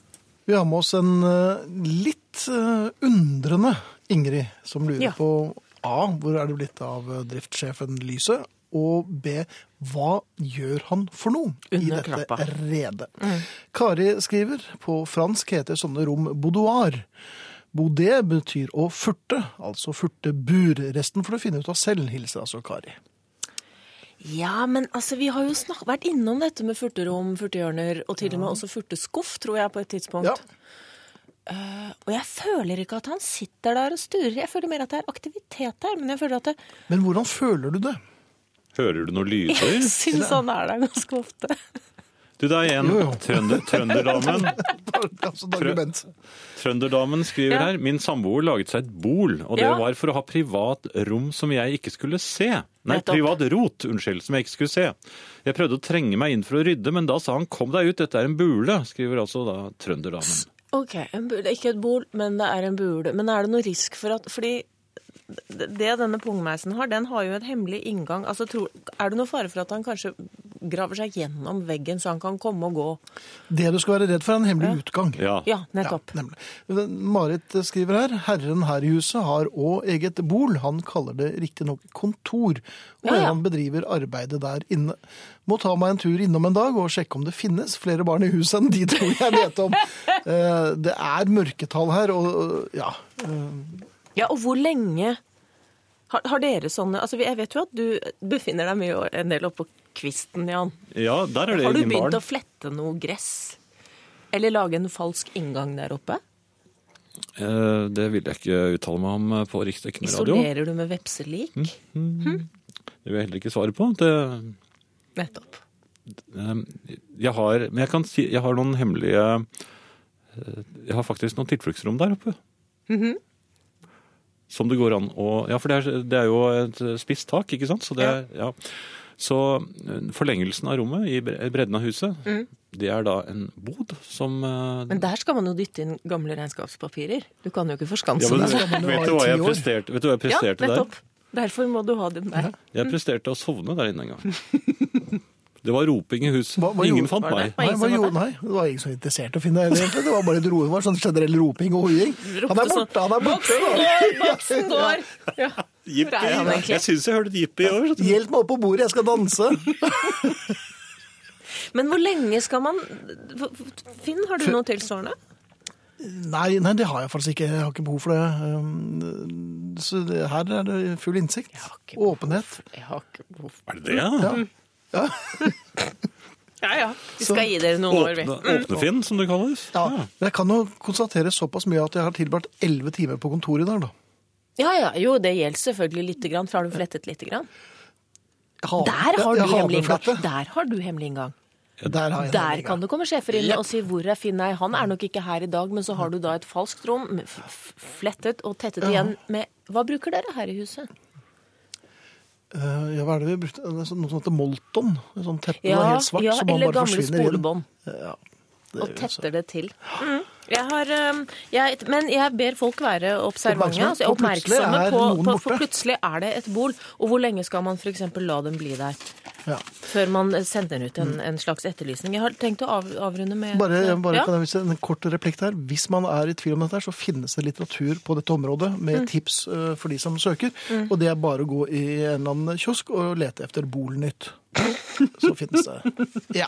[SPEAKER 1] Vi har med oss en eh, litt eh, undrende Ingrid, som lurer
[SPEAKER 3] Ja.
[SPEAKER 1] på A. Hvor er det blitt av eh, driftssjefen Lyset? Og B. Hva gjør han for noe i
[SPEAKER 3] Under Mm.
[SPEAKER 1] dette
[SPEAKER 3] klappa.
[SPEAKER 1] redet? Kari skriver på fransk heter sånne rom boudoir. Baudet betyr å furte, altså furtebur. Resten får du finne ut av selv, hilser altså Kari.
[SPEAKER 3] Ja, men altså, vi har jo snak vært innom dette med furterom, furtehjørner, og til og med også furteskuff, tror jeg, på et tidspunkt. Eh,
[SPEAKER 1] Ja.
[SPEAKER 3] Og jeg føler ikke at han sitter der og sturer. Jeg føler mer at det er aktivitet der, men jeg føler at det,
[SPEAKER 1] Men hvordan føler du det? [laughs]
[SPEAKER 2] Hører du noen
[SPEAKER 3] [laughs] jeg
[SPEAKER 2] lyder?
[SPEAKER 3] syns han er der ganske ofte.
[SPEAKER 2] Du, det er en
[SPEAKER 1] Jo, jo.
[SPEAKER 2] trønder, trønderdamen.
[SPEAKER 1] altså, et argument.
[SPEAKER 2] Trønderdamen skriver
[SPEAKER 3] Ja.
[SPEAKER 2] her Min samboer laget seg et bol, og det
[SPEAKER 3] Ja.
[SPEAKER 2] var for å ha privat rom som jeg ikke skulle se. Nei,
[SPEAKER 3] Nettopp.
[SPEAKER 2] privat rot, unnskyld, som jeg ikke skulle se. Jeg prøvde å trenge meg inn for å rydde, men da sa han kom deg ut, dette er en bule, skriver altså da trønderdamen.
[SPEAKER 3] Ok, en bule, ikke et bol, men det er en bule. Men er det noe risk for at Fordi det det denne pungmeisen har, den har jo en hemmelig inngang. Altså, tror, er det noe fare for at han kanskje graver seg gjennom veggen, så han kan komme og gå?
[SPEAKER 1] Det du skal være redd for, er en hemmelig utgang.
[SPEAKER 2] Ja.
[SPEAKER 3] Ja, nettopp.
[SPEAKER 1] Ja, nemlig. Marit skriver her herren her i huset har òg eget bol. Han kaller det riktignok kontor, og
[SPEAKER 3] Ja, ja.
[SPEAKER 1] han bedriver arbeidet der inne. Må ta meg en tur innom en dag og sjekke om det finnes flere barn i huset enn de to jeg vet
[SPEAKER 3] [laughs]
[SPEAKER 1] om. Eh, Det er mørketall her, og ja.
[SPEAKER 3] Ja, og hvor lenge har, har dere sånne Altså, jeg vet jo at du befinner deg mye og- en del oppå kvisten, Jan.
[SPEAKER 2] ja, der er det
[SPEAKER 3] Har du
[SPEAKER 2] i min
[SPEAKER 3] begynt å
[SPEAKER 2] barn.
[SPEAKER 3] flette noe gress? Eller lage en falsk inngang der oppe?
[SPEAKER 2] Eh, Det vil jeg ikke uttale meg om eh, på riksdekkende radio. Mm.
[SPEAKER 3] Isolerer du med vepselik?
[SPEAKER 2] Det vil jeg heller ikke svare på. Det
[SPEAKER 3] Nettopp.
[SPEAKER 2] Um, Jeg har, men jeg kan si, jeg har noen hemmelige eh, Jeg har faktisk noen tilfluktsrom der oppe. Som det går an å Ja, for det er, det er jo et spisst tak, ikke sant? Så, det, er- ja. Så eh, forlengelsen av rommet i bre- bredden av huset, det er da en bod som eh,
[SPEAKER 3] Men der skal man jo dytte inn gamle regnskapspapirer. Du kan jo ikke forskanse
[SPEAKER 2] ja, men,
[SPEAKER 3] deg.
[SPEAKER 1] man jo
[SPEAKER 2] vet,
[SPEAKER 1] ha
[SPEAKER 2] du
[SPEAKER 1] i
[SPEAKER 2] hva
[SPEAKER 1] ti
[SPEAKER 2] jeg
[SPEAKER 1] år.
[SPEAKER 2] presterte, vet du hva jeg
[SPEAKER 3] Ja,
[SPEAKER 2] presterte der?
[SPEAKER 3] nettopp. Derfor må du ha dem der.
[SPEAKER 1] [laughs]
[SPEAKER 2] Jeg presterte å sovne der inne en gang. Det var roping i huset.
[SPEAKER 1] Hva- hva
[SPEAKER 2] Ingen
[SPEAKER 1] gjorde-
[SPEAKER 2] fant
[SPEAKER 3] var
[SPEAKER 2] meg.
[SPEAKER 3] det?
[SPEAKER 1] Nei, hva
[SPEAKER 3] ingen som var
[SPEAKER 1] gjorde- nei, det var ingen som var interessert i å finne deg egentlig. Det var bare et ro, det var sånn generell roping og hoiing. Han er
[SPEAKER 3] Ropte sånn,
[SPEAKER 1] borte, han er borte! [laughs]
[SPEAKER 3] Boksen
[SPEAKER 1] da.
[SPEAKER 3] går! Boksen går! Ja. Hvor er han
[SPEAKER 2] Jippi!
[SPEAKER 3] egentlig?
[SPEAKER 2] Jeg syns jeg hørte et jippi i år.
[SPEAKER 1] Hjelp meg opp på bordet, jeg skal danse!
[SPEAKER 3] Men hvor lenge skal man Finn, har du noe tilsvarende?
[SPEAKER 1] Nei, nei, det har jeg faktisk ikke. Jeg har ikke behov for det. Um, Så det, her er det full innsikt.
[SPEAKER 3] ikke
[SPEAKER 1] Åpenhet.
[SPEAKER 3] Jeg har ikke behov for
[SPEAKER 2] Er det det? Ja.
[SPEAKER 3] Ja ja, vi skal gi dere noen år, vi.
[SPEAKER 2] Åpne, åpnefinn, som det kalles.
[SPEAKER 1] Ja, men jeg kan jo konstatere såpass mye at jeg har tilbrakt elleve timer på kontoret i dag, da.
[SPEAKER 3] Ja ja, jo det gjelder selvfølgelig lite grann, for har du flettet lite grann?
[SPEAKER 1] Jeg har-
[SPEAKER 3] Der har du
[SPEAKER 1] jeg- jeg
[SPEAKER 3] hemmelig
[SPEAKER 1] havneflette.
[SPEAKER 3] inngang. Der har du hemmelig inngang.
[SPEAKER 1] Der har jeg
[SPEAKER 3] Der kan
[SPEAKER 1] du.
[SPEAKER 3] det komme sjefer inn og si 'hvor er Finn'? Nei, han er nok ikke her i dag, men så har du da et falskt rom, med f- f- flettet og tettet igjen med Hva bruker dere her i huset?
[SPEAKER 1] Eh, ja, hva er det vi brukte? Det er sånn- Noe som heter Molton. Et sånt teppe det var
[SPEAKER 3] Ja,
[SPEAKER 1] helt svart,
[SPEAKER 3] ja
[SPEAKER 1] som man
[SPEAKER 3] eller
[SPEAKER 1] bare
[SPEAKER 3] gamle
[SPEAKER 1] forsvinner igjen.
[SPEAKER 3] spolebånd.
[SPEAKER 1] Ja, det
[SPEAKER 3] Og
[SPEAKER 1] gjør jeg så.
[SPEAKER 3] tetter det til. Mm. Jeg har, øhm, jeg, men jeg ber folk være
[SPEAKER 1] Oppmerksomme,
[SPEAKER 3] observante. Altså,
[SPEAKER 1] for plutselig
[SPEAKER 3] oppmerksomme
[SPEAKER 1] er
[SPEAKER 3] på,
[SPEAKER 1] noen
[SPEAKER 3] på
[SPEAKER 1] borte.
[SPEAKER 3] For plutselig er det et bol. Og hvor lenge skal man f.eks. la dem bli der?
[SPEAKER 1] Ja.
[SPEAKER 3] Før man sender ut en, en slags etterlysning. Jeg har tenkt å av, avrunde med
[SPEAKER 1] Bare, bare
[SPEAKER 3] ja?
[SPEAKER 1] kan jeg vise en kort replikk der. Hvis man er i tvil om dette, her, så finnes det litteratur på dette området
[SPEAKER 3] Mm.
[SPEAKER 1] med tips eh, for de som søker. Og det er bare å gå i en eller annen kiosk og lete etter Bolnytt. så finnes det.
[SPEAKER 3] [laughs]
[SPEAKER 1] Ja.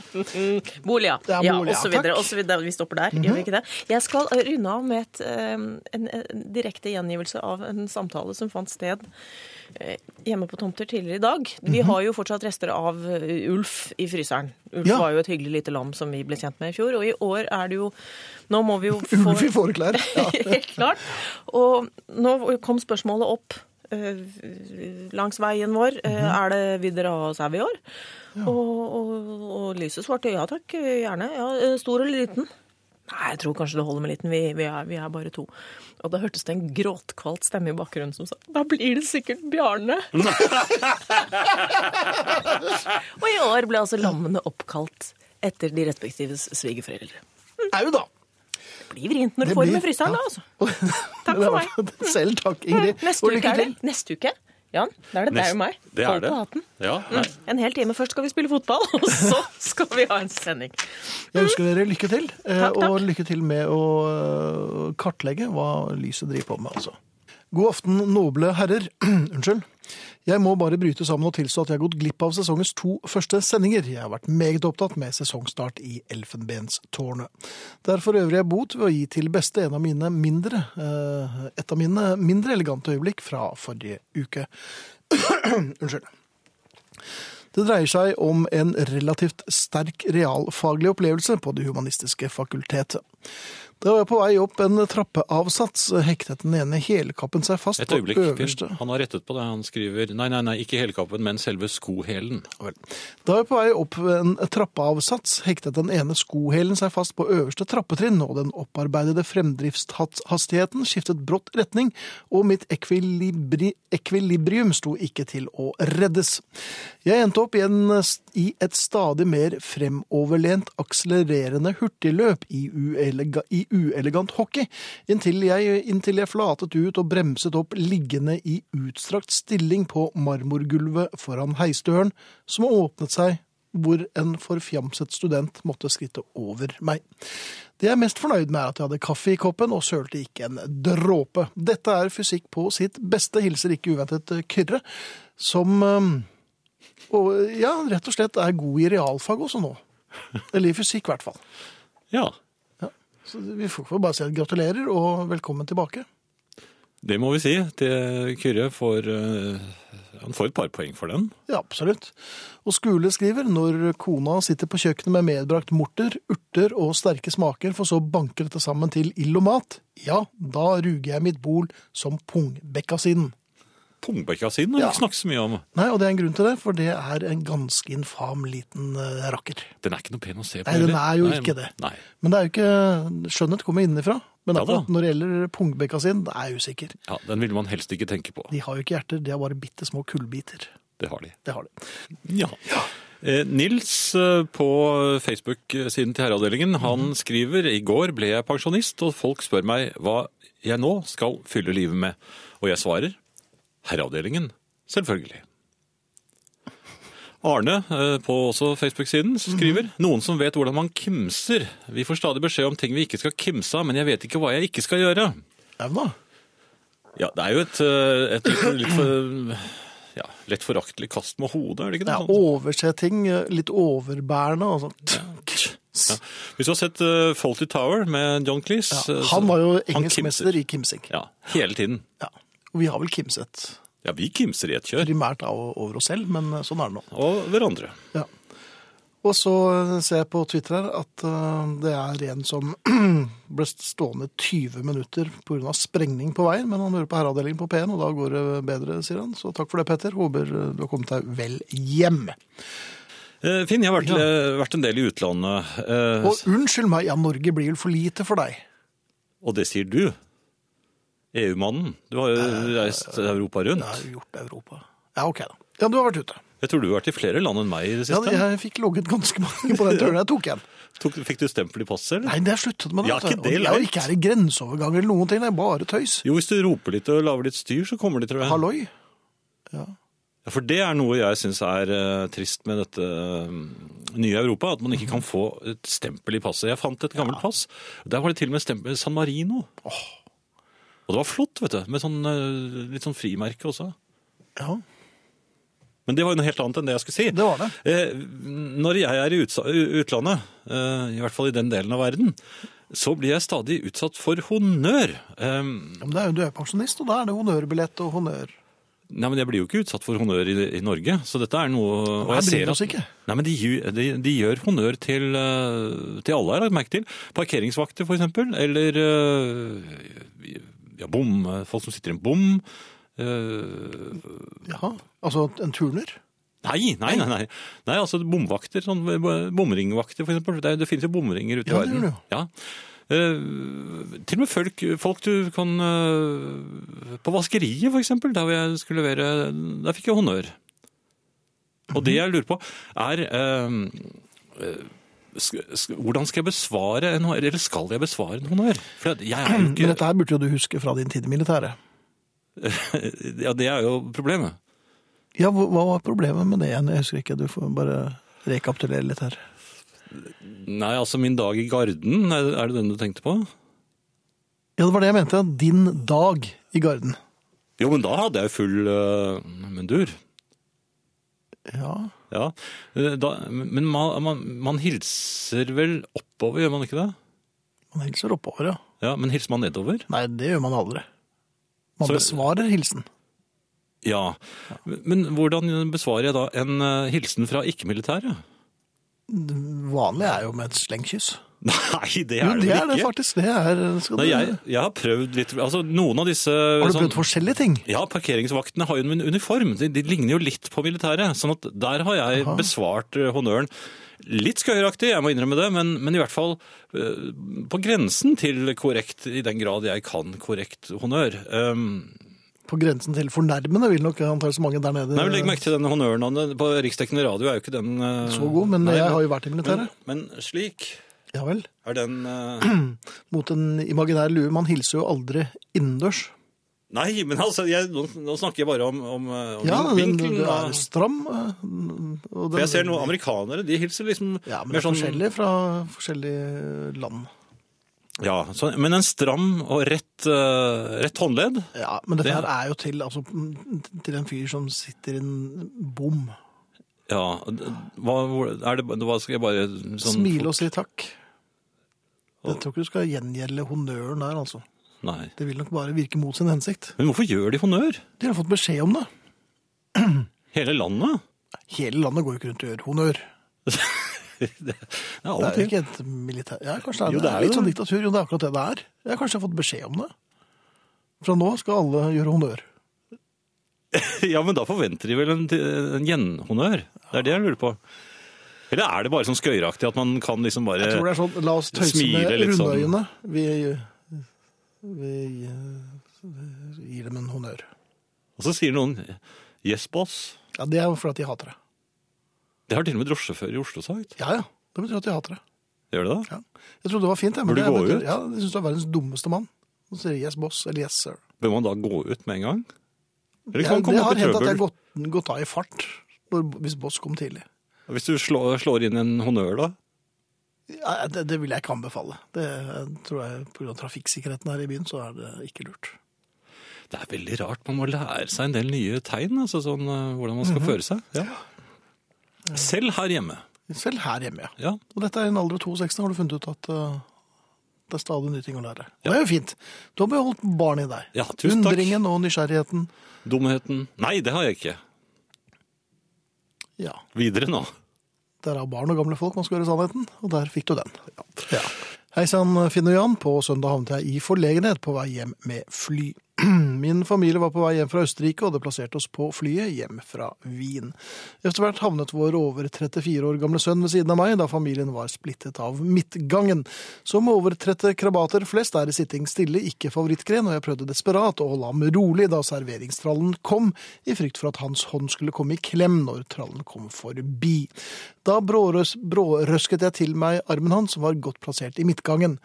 [SPEAKER 3] Bolig, ja.
[SPEAKER 1] Ja,
[SPEAKER 3] ja
[SPEAKER 1] bolig,
[SPEAKER 3] og
[SPEAKER 1] ja,
[SPEAKER 3] så videre.
[SPEAKER 1] takk. Mhm.
[SPEAKER 3] Og så videre. Vi stopper der, gjør vi ikke det? Jeg skal runde av med et, eh, en, en direkte gjengivelse av en samtale som fant sted eh, hjemme på tomter tidligere i dag. Vi
[SPEAKER 1] Mhm.
[SPEAKER 3] har jo fortsatt rester av eh, Ulf i fryseren. Ulf
[SPEAKER 1] Ja.
[SPEAKER 3] var jo et hyggelig lite lam som vi ble kjent med i fjor, og i år er det jo Nå må vi jo få
[SPEAKER 1] [laughs] Ulf i fåreklær. Ja.
[SPEAKER 3] [laughs] Helt klart. Og nå kom spørsmålet opp eh, langs veien vår. Eh,
[SPEAKER 1] Mhm.
[SPEAKER 3] Er det vil dere ha sau i år? Og, og, og lyset svarte ja takk, gjerne. Ja, eh, stor eller liten? Nei, jeg tror kanskje det holder med liten. Vi, vi, er, vi er bare to. Og da hørtes det en gråtkvalt stemme i bakgrunnen som sa da blir det sikkert
[SPEAKER 1] [laughs]
[SPEAKER 3] Bjarne. og i år ble altså lammene oppkalt etter de respektive svigerforeldre.
[SPEAKER 1] Au da!
[SPEAKER 3] Det blir vrient når du
[SPEAKER 1] Det
[SPEAKER 3] får
[SPEAKER 1] blir-
[SPEAKER 3] dem i fryseren,
[SPEAKER 1] ja.
[SPEAKER 3] da, altså.
[SPEAKER 1] Takk
[SPEAKER 3] for meg.
[SPEAKER 1] [laughs] Selv takk, Ingrid.
[SPEAKER 3] Neste
[SPEAKER 1] Og
[SPEAKER 3] uke
[SPEAKER 1] lykke
[SPEAKER 3] er det.
[SPEAKER 1] til.
[SPEAKER 3] Neste uke. Jan, da er det deg og meg.
[SPEAKER 2] Det
[SPEAKER 3] Hold
[SPEAKER 2] er det.
[SPEAKER 3] på hatten. Mm.
[SPEAKER 2] Ja, nei.
[SPEAKER 3] En hel time først skal vi spille fotball, [laughs] og så skal vi ha en sending.
[SPEAKER 1] Jeg ønsker dere lykke til. eh,
[SPEAKER 3] Takk, takk.
[SPEAKER 1] Og lykke til med å eh, kartlegge hva lyset driver på med, altså. God aften, noble herrer. [clears throat] Unnskyld. Jeg må bare bryte sammen og tilstå at jeg har gått glipp av sesongens to første sendinger. Jeg har vært meget opptatt med sesongstart i Elfenbenstårnet. Det er for øvrig jeg bot ved å gi til beste en av mine mindre, eh, et av mine mindre elegante øyeblikk fra forrige uke. Unnskyld. Det dreier seg om en relativt sterk realfaglig opplevelse på Det humanistiske fakultetet. Da var jeg på vei opp en trappeavsats, hektet den ene helkappen seg fast
[SPEAKER 2] Et øyeblikk.
[SPEAKER 1] på
[SPEAKER 2] Finn.
[SPEAKER 1] øverste
[SPEAKER 2] Han har rettet på det. Han skriver Nei, nei, nei, ikke helkappen, men selve skohælen.
[SPEAKER 1] Vel. Da jeg på vei opp en trappeavsats, hektet den ene skohælen seg fast på øverste trappetrinn, og den opparbeidede fremdriftshastigheten skiftet brått retning, og mitt ekvilibri ekvilibrium sto ikke til å reddes. Jeg endte opp i, en, i et stadig mer fremoverlent, akselererende hurtigløp i, uelega, i uelegant hockey, inntil jeg, inntil jeg flatet ut og bremset opp liggende i utstrakt stilling på marmorgulvet foran heisdøren, som åpnet seg hvor en forfjamset student måtte skritte over meg. Det jeg er mest fornøyd med, er at jeg hadde kaffe i koppen og sølte ikke en dråpe. Dette er fysikk på sitt beste, hilser ikke uventet Kyrre, som eh, og, ja, rett og slett er god i realfag også nå. Eller i fysikk, i hvert fall.
[SPEAKER 2] Ja.
[SPEAKER 1] Så vi får bare si at gratulerer, og velkommen tilbake.
[SPEAKER 2] Det må vi si til Kyrre. For, eh, han får et par poeng for den.
[SPEAKER 1] Ja, absolutt. Og Skule skriver når kona sitter på kjøkkenet med medbrakt morter, urter og sterke smaker, for så å banke dette sammen til ild og mat, ja, da ruger jeg mitt bol som pungbekkasinen.
[SPEAKER 2] Pungbekkasinen har vi
[SPEAKER 1] Ja.
[SPEAKER 2] ikke snakket så mye om.
[SPEAKER 1] Nei, og det er en grunn til det, for det er en ganske infam liten eh, rakker.
[SPEAKER 2] Den er ikke noe pen å se på.
[SPEAKER 1] Nei, den
[SPEAKER 2] heller.
[SPEAKER 1] er jo
[SPEAKER 2] Nei,
[SPEAKER 1] ikke det.
[SPEAKER 2] Nei.
[SPEAKER 1] Men det er jo ikke Skjønnhet kommer innenfra. Men
[SPEAKER 2] Ja da.
[SPEAKER 1] akkurat når det gjelder pungbekkasin, det er jeg usikker.
[SPEAKER 2] Ja, den ville man helst ikke tenke på.
[SPEAKER 1] De har jo ikke hjerter, de har bare bitte små kullbiter.
[SPEAKER 2] Det har de.
[SPEAKER 1] Det har de.
[SPEAKER 2] Ja. Eh, Nils eh, på Facebook-siden til Herreavdelingen, han skriver I går ble jeg pensjonist, og folk spør meg hva jeg nå skal fylle livet med. Og jeg svarer Herreavdelingen. Selvfølgelig. Arne eh, på også Facebook-siden skriver noen som vet hvordan man kimser. Vi får stadig beskjed om ting vi ikke skal kimse av, men jeg vet ikke hva jeg ikke skal gjøre.
[SPEAKER 1] Jau da.
[SPEAKER 2] Ja, det er jo et, eh, et litt, litt for ja, lett foraktelig kast med hodet, er det ikke
[SPEAKER 1] Det
[SPEAKER 2] det?
[SPEAKER 1] er
[SPEAKER 2] Sånn-
[SPEAKER 1] overse ting, eh, litt overbærende og sånn.
[SPEAKER 2] Ja. Hvis du har sett uh, Faulty Tower med John Cleese
[SPEAKER 1] Ja,
[SPEAKER 2] eh, så-
[SPEAKER 1] han var jo
[SPEAKER 2] han kimser.
[SPEAKER 1] engelskmester i kimsing.
[SPEAKER 2] Ja, hele tiden.
[SPEAKER 1] Ja. Og vi har vel kimset
[SPEAKER 2] Ja, vi kimser i et kjør.
[SPEAKER 1] primært av over oss selv, men sånn er det nå.
[SPEAKER 2] Og hverandre.
[SPEAKER 1] Ja. Og så eh, ser jeg på Twitter her at øh, det er en som [clears throat] ble stående 20 minutter pga. sprengning på veien, men han hører på herreavdelingen på P1, og da går det bedre, sier han. Så takk for det, Petter. Håper eh, du har kommet deg vel hjem.
[SPEAKER 2] Eh, Finn, jeg har vært, eh, vært en del i utlandet, eh,
[SPEAKER 1] Og unnskyld meg, ja, Norge blir vel for lite for deg.
[SPEAKER 2] og det sier du. EU-mannen. Du har jo
[SPEAKER 1] Eh,
[SPEAKER 2] reist Europa rundt.
[SPEAKER 1] Jeg har jo gjort Europa. Ja, ok da. Ja, du har vært ute.
[SPEAKER 2] Jeg tror du har vært i flere land enn meg i det
[SPEAKER 1] Ja,
[SPEAKER 2] siste.
[SPEAKER 1] jeg fikk logget ganske mange på den turen jeg tok en.
[SPEAKER 2] Tok, fikk du stempel i passet, eller?
[SPEAKER 1] Nei, det har jeg sluttet med.
[SPEAKER 2] Ja,
[SPEAKER 1] vet du.
[SPEAKER 2] ikke det
[SPEAKER 1] Og jeg
[SPEAKER 2] leit.
[SPEAKER 1] ikke er i grenseoverganger eller noen ting, det er bare tøys.
[SPEAKER 2] Jo, hvis du roper litt og lager litt styr, så kommer de, tror jeg.
[SPEAKER 1] Halloi.
[SPEAKER 2] Ja, For det er noe jeg syns er eh, trist med dette eh, nye Europa, at man ikke kan få et stempel i passet. Jeg fant et gammelt pass. Der var det til og med stempel San Marino. Og det var flott, vet du, med sånn, eh, litt sånn frimerke også.
[SPEAKER 1] Ja,
[SPEAKER 2] Men det var jo noe helt annet enn det jeg skulle si.
[SPEAKER 1] det var det.
[SPEAKER 2] Eh, Når jeg er i utsa- u- utlandet, eh, i hvert fall i den delen av verden, så blir jeg stadig utsatt for honnør.
[SPEAKER 1] Ja,
[SPEAKER 2] Eh,
[SPEAKER 1] men det er jo, du er pensjonist, og da er det honnørbillett og honnør.
[SPEAKER 2] Nei, men jeg blir jo ikke utsatt for honnør i, i Norge, så dette er noe... og
[SPEAKER 1] Her
[SPEAKER 2] jeg
[SPEAKER 1] bryr
[SPEAKER 2] ser
[SPEAKER 1] vi oss
[SPEAKER 2] at-
[SPEAKER 1] ikke.
[SPEAKER 2] Nei, men de, gju- de, de gjør honnør til, eh, til alle, har jeg lagt merke til. Parkeringsvakter, for eksempel, eller eh, ja, bom, eh, folk som sitter i en bom. Eh,
[SPEAKER 1] Jaha, altså en turner.
[SPEAKER 2] Nei, nei, nei. nei. Nei, altså bomvakter, sånn eh, bomringvakter for eksempel. Det, er- det finnes jo bomringer ute i
[SPEAKER 1] Ja, det
[SPEAKER 2] verden.
[SPEAKER 1] gjør det jo.
[SPEAKER 2] Ja. Eh, til og med folk, folk du kan eh, På vaskeriet, for eksempel, der hvor jeg skulle levere Der fikk jeg honnør. Og
[SPEAKER 1] Mhm.
[SPEAKER 2] det jeg lurer på, er eh, eh, sk- sk- Hvordan skal jeg besvare en honnør? Eller skal jeg besvare en honnør? For jeg
[SPEAKER 1] [clears throat]
[SPEAKER 2] er jo
[SPEAKER 1] Men
[SPEAKER 2] ikke
[SPEAKER 1] dette her burde jo du huske fra din tid i militæret.
[SPEAKER 2] [laughs] Ja, det er jo problemet.
[SPEAKER 1] Ja, hva hva var problemet med det igjen? Jeg husker ikke, du får bare rekapitulere litt her.
[SPEAKER 2] Nei, altså, min dag i Garden, er er det den du tenkte på?
[SPEAKER 1] Ja, det var det jeg mente. Din dag i garden.
[SPEAKER 2] Jo, men da hadde jeg full øh, mundur.
[SPEAKER 1] Ja,
[SPEAKER 2] Ja. Eh, Da, men man, man, man hilser vel oppover, gjør man ikke det?
[SPEAKER 1] man hilser oppover, ja.
[SPEAKER 2] Ja, Men hilser man nedover?
[SPEAKER 1] Nei, det gjør man aldri. Man
[SPEAKER 2] Så-
[SPEAKER 1] besvarer hilsen.
[SPEAKER 2] Ja. Men men hvordan besvarer jeg da en eh, hilsen fra ikke-militære?
[SPEAKER 1] Vanlig er jo med et slengkyss.
[SPEAKER 2] [laughs] Nei, det
[SPEAKER 1] Jo,
[SPEAKER 2] er det
[SPEAKER 1] det
[SPEAKER 2] vel
[SPEAKER 1] er det
[SPEAKER 2] ikke.
[SPEAKER 1] faktisk. Det er, skal
[SPEAKER 2] Nei,
[SPEAKER 1] du-
[SPEAKER 2] jeg, jeg har prøvd litt Altså, noen av disse
[SPEAKER 1] Har du
[SPEAKER 2] sånn-
[SPEAKER 1] prøvd forskjellige ting?
[SPEAKER 2] Ja, parkeringsvaktene har jo en uniform. De, de ligner jo litt på militæret. sånn at der har jeg besvart eh, honnøren. Litt skøyeraktig, jeg må innrømme det, men, men i hvert fall eh, på grensen til korrekt, i den grad jeg kan korrekt honnør. Um,
[SPEAKER 1] På grensen til fornærmende vil nok antakeligvis mange der nede
[SPEAKER 2] nei, men Legg merke til den honnøren han- på riksdekkende radio. er jo ikke den eh,
[SPEAKER 1] så god, men
[SPEAKER 2] nei,
[SPEAKER 1] jeg har jo vært i militæret.
[SPEAKER 2] Men, men slik
[SPEAKER 1] Ja vel.
[SPEAKER 2] er den eh,
[SPEAKER 1] Mot en imaginær lue. Man hilser jo aldri innendørs.
[SPEAKER 2] Nei, men altså, jeg, nå, nå snakker jeg bare om, om, eh, om
[SPEAKER 1] Ja, den,
[SPEAKER 2] vinkelen.
[SPEAKER 1] den
[SPEAKER 2] da.
[SPEAKER 1] er stram. eh, Og
[SPEAKER 2] For jeg ser noen amerikanere, de hilser liksom
[SPEAKER 1] Ja, men det
[SPEAKER 2] mer
[SPEAKER 1] er forskjellig fra forskjellige land.
[SPEAKER 2] Ja, så, men en stram og rett, eh, rett håndledd?
[SPEAKER 1] Ja, Men dette
[SPEAKER 2] Det-
[SPEAKER 1] her er jo til, altså, til en fyr som sitter i en bom.
[SPEAKER 2] Ja. Hva, hvor- er det, hva skal jeg bare sånn,
[SPEAKER 1] Smile og si takk. Jeg tror ikke du skal gjengjelde honnøren der, altså.
[SPEAKER 2] Nei.
[SPEAKER 1] Det vil nok bare virke mot sin hensikt.
[SPEAKER 2] Men hvorfor gjør de honnør?
[SPEAKER 1] De har fått beskjed om det.
[SPEAKER 2] Hele landet?
[SPEAKER 1] Hele landet går jo ikke rundt og gjør honnør.
[SPEAKER 2] Det er av
[SPEAKER 1] [laughs] Det
[SPEAKER 2] og
[SPEAKER 1] er jo
[SPEAKER 2] til.
[SPEAKER 1] ikke et militær... Ja, kanskje det er,
[SPEAKER 2] Jo,
[SPEAKER 1] det
[SPEAKER 2] det er
[SPEAKER 1] er litt
[SPEAKER 2] jo-
[SPEAKER 1] sånn diktatur. Jo, det er akkurat det det er. Jeg har kanskje fått beskjed om det. Fra nå skal alle gjøre honnør.
[SPEAKER 2] Ja, men da forventer de vel en, en gjenhonnør? Det er det jeg lurer på. Eller er det bare sånn skøyeraktig at man kan liksom bare
[SPEAKER 1] Jeg tror det er sånn, la oss tøyse
[SPEAKER 2] Smile
[SPEAKER 1] med
[SPEAKER 2] litt sånn.
[SPEAKER 1] rundøyene. Vi, vi eh, gir dem en honnør.
[SPEAKER 2] Og så sier noen 'yes, boss'.
[SPEAKER 1] Ja, det er jo fordi at de hater det.
[SPEAKER 2] Det har til og med drosjesjåfører i Oslo sagt.
[SPEAKER 1] Ja, ja. Det betyr at de hater det.
[SPEAKER 2] Gjør det det?
[SPEAKER 1] Ja. Jeg trodde det var fint. jeg, men
[SPEAKER 2] Burde
[SPEAKER 1] det
[SPEAKER 2] gå
[SPEAKER 1] betyr-
[SPEAKER 2] ut?
[SPEAKER 1] Ja, jeg synes du er verdens dummeste mann. Og så sier de yes, boss, eller yes, sir.
[SPEAKER 2] Bør man da gå ut med en gang? Eller
[SPEAKER 1] Jeg,
[SPEAKER 2] kan man
[SPEAKER 1] det
[SPEAKER 2] komme
[SPEAKER 1] har
[SPEAKER 2] opp i
[SPEAKER 1] hendt at jeg har
[SPEAKER 2] trøbbel?
[SPEAKER 1] gått, gått av i fart når, hvis Boss kom tidlig.
[SPEAKER 2] Hvis du slår, slår inn en honnør, da?
[SPEAKER 1] Ja, det, det vil jeg ikke anbefale. Det tror jeg Pga. trafikksikkerheten her i byen, så er det ikke lurt.
[SPEAKER 2] Det er veldig rart. Man må lære seg en del nye tegn. altså sånn eh, Hvordan man skal
[SPEAKER 1] Mhm.
[SPEAKER 2] føre seg. Selv her hjemme.
[SPEAKER 1] Selv her hjemme, ja.
[SPEAKER 2] Ja,
[SPEAKER 1] Og dette er i en alder av 62, har du funnet ut at eh, det er stadig nye ting å lære. Og Det er jo fint. Du har beholdt barnet i deg.
[SPEAKER 2] Ja, tusen takk.
[SPEAKER 1] Undringen og nysgjerrigheten.
[SPEAKER 2] Dumheten Nei, det har jeg ikke.
[SPEAKER 1] Ja.
[SPEAKER 2] Videre nå.
[SPEAKER 1] Det er av barn og gamle folk man skal høre sannheten, og der fikk du den. Ja. Hei sann, Finn og Jan. På søndag havnet jeg i forlegenhet på vei hjem med fly. [clears throat] Min familie var på vei hjem fra Østerrike, og det plasserte oss på flyet hjem fra Wien. Etter hvert havnet vår over 34 år gamle sønn ved siden av meg, da familien var splittet av midtgangen. Som overtrette krabater flest er sitting stille ikke favorittgren, og jeg prøvde desperat å holde ham rolig da serveringstrallen kom, i frykt for at hans hånd skulle komme i klem når trallen kom forbi. Da brårøs, brårøsket jeg til meg armen hans, som var godt plassert i midtgangen.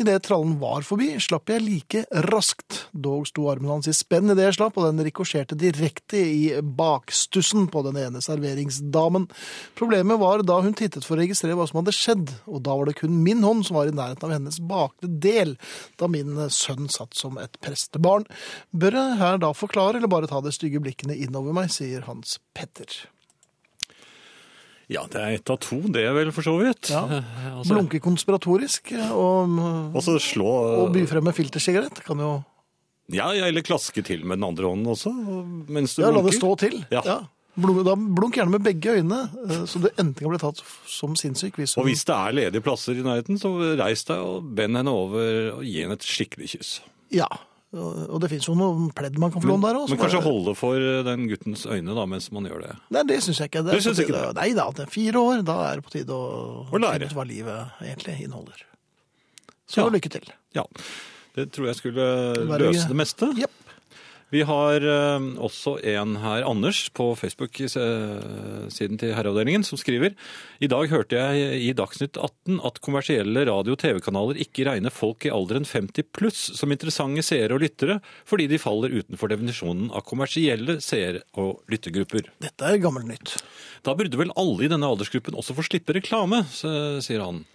[SPEAKER 1] Idet trallen var forbi, slapp jeg like raskt. Dog sto armen hans i spenn idet jeg slapp, og den rikosjerte direkte i bakstussen på den ene serveringsdamen. Problemet var da hun tittet for å registrere hva som hadde skjedd, og da var det kun min hånd som var i nærheten av hennes bakre del, da min sønn satt som et prestebarn. Bør jeg her da forklare, eller bare ta de stygge blikkene innover meg, sier Hans Petter.
[SPEAKER 2] Ja, det er ett av to, det er vel for så [laughs] vidt.
[SPEAKER 1] Ja.
[SPEAKER 2] Eh, altså-
[SPEAKER 1] Blunke konspiratorisk eh, og
[SPEAKER 2] Og så slå
[SPEAKER 1] Og by frem med filtersigarett kan jo
[SPEAKER 2] Ja, ja, eller klaske til med den andre hånden også, mens du
[SPEAKER 1] ja, la
[SPEAKER 2] blunker.
[SPEAKER 1] det stå til.
[SPEAKER 2] Ja.
[SPEAKER 1] Blunk, da blunk gjerne med begge øynene, eh, så du enten kan bli tatt som sinnssyk. Hvis
[SPEAKER 2] Og
[SPEAKER 1] hun-
[SPEAKER 2] hvis det er ledige plasser i nærheten, så reis deg og bend henne over og gi henne et skikkelig kyss.
[SPEAKER 1] Ja, og og det fins jo noen pledd man kan få låne der òg.
[SPEAKER 2] Men kanskje holde for eh, den guttens øyne da, mens man gjør det.
[SPEAKER 1] Nei, det syns jeg ikke.
[SPEAKER 2] Det synes jeg ikke
[SPEAKER 1] det. Nei da, det er fire år. Da er det på tide å
[SPEAKER 2] Å lære.
[SPEAKER 1] finne ut hva livet egentlig inneholder. Så
[SPEAKER 2] Ja.
[SPEAKER 1] lykke til.
[SPEAKER 2] Ja, det tror jeg skulle
[SPEAKER 1] Være-
[SPEAKER 2] løse det meste.
[SPEAKER 1] Jepp.
[SPEAKER 2] Vi har eh, også en her, Anders, på Facebook-siden til Herreavdelingen, som skriver I dag hørte jeg i Dagsnytt 18 at kommersielle radio- og TV-kanaler ikke regner folk i alderen 50 pluss som interessante seere og lyttere, fordi de faller utenfor definisjonen av kommersielle seere- og lyttergrupper.
[SPEAKER 1] Dette er gammelt nytt.
[SPEAKER 2] Da burde vel alle i denne aldersgruppen også få slippe reklame, s- sier
[SPEAKER 1] [laughs]
[SPEAKER 2] han.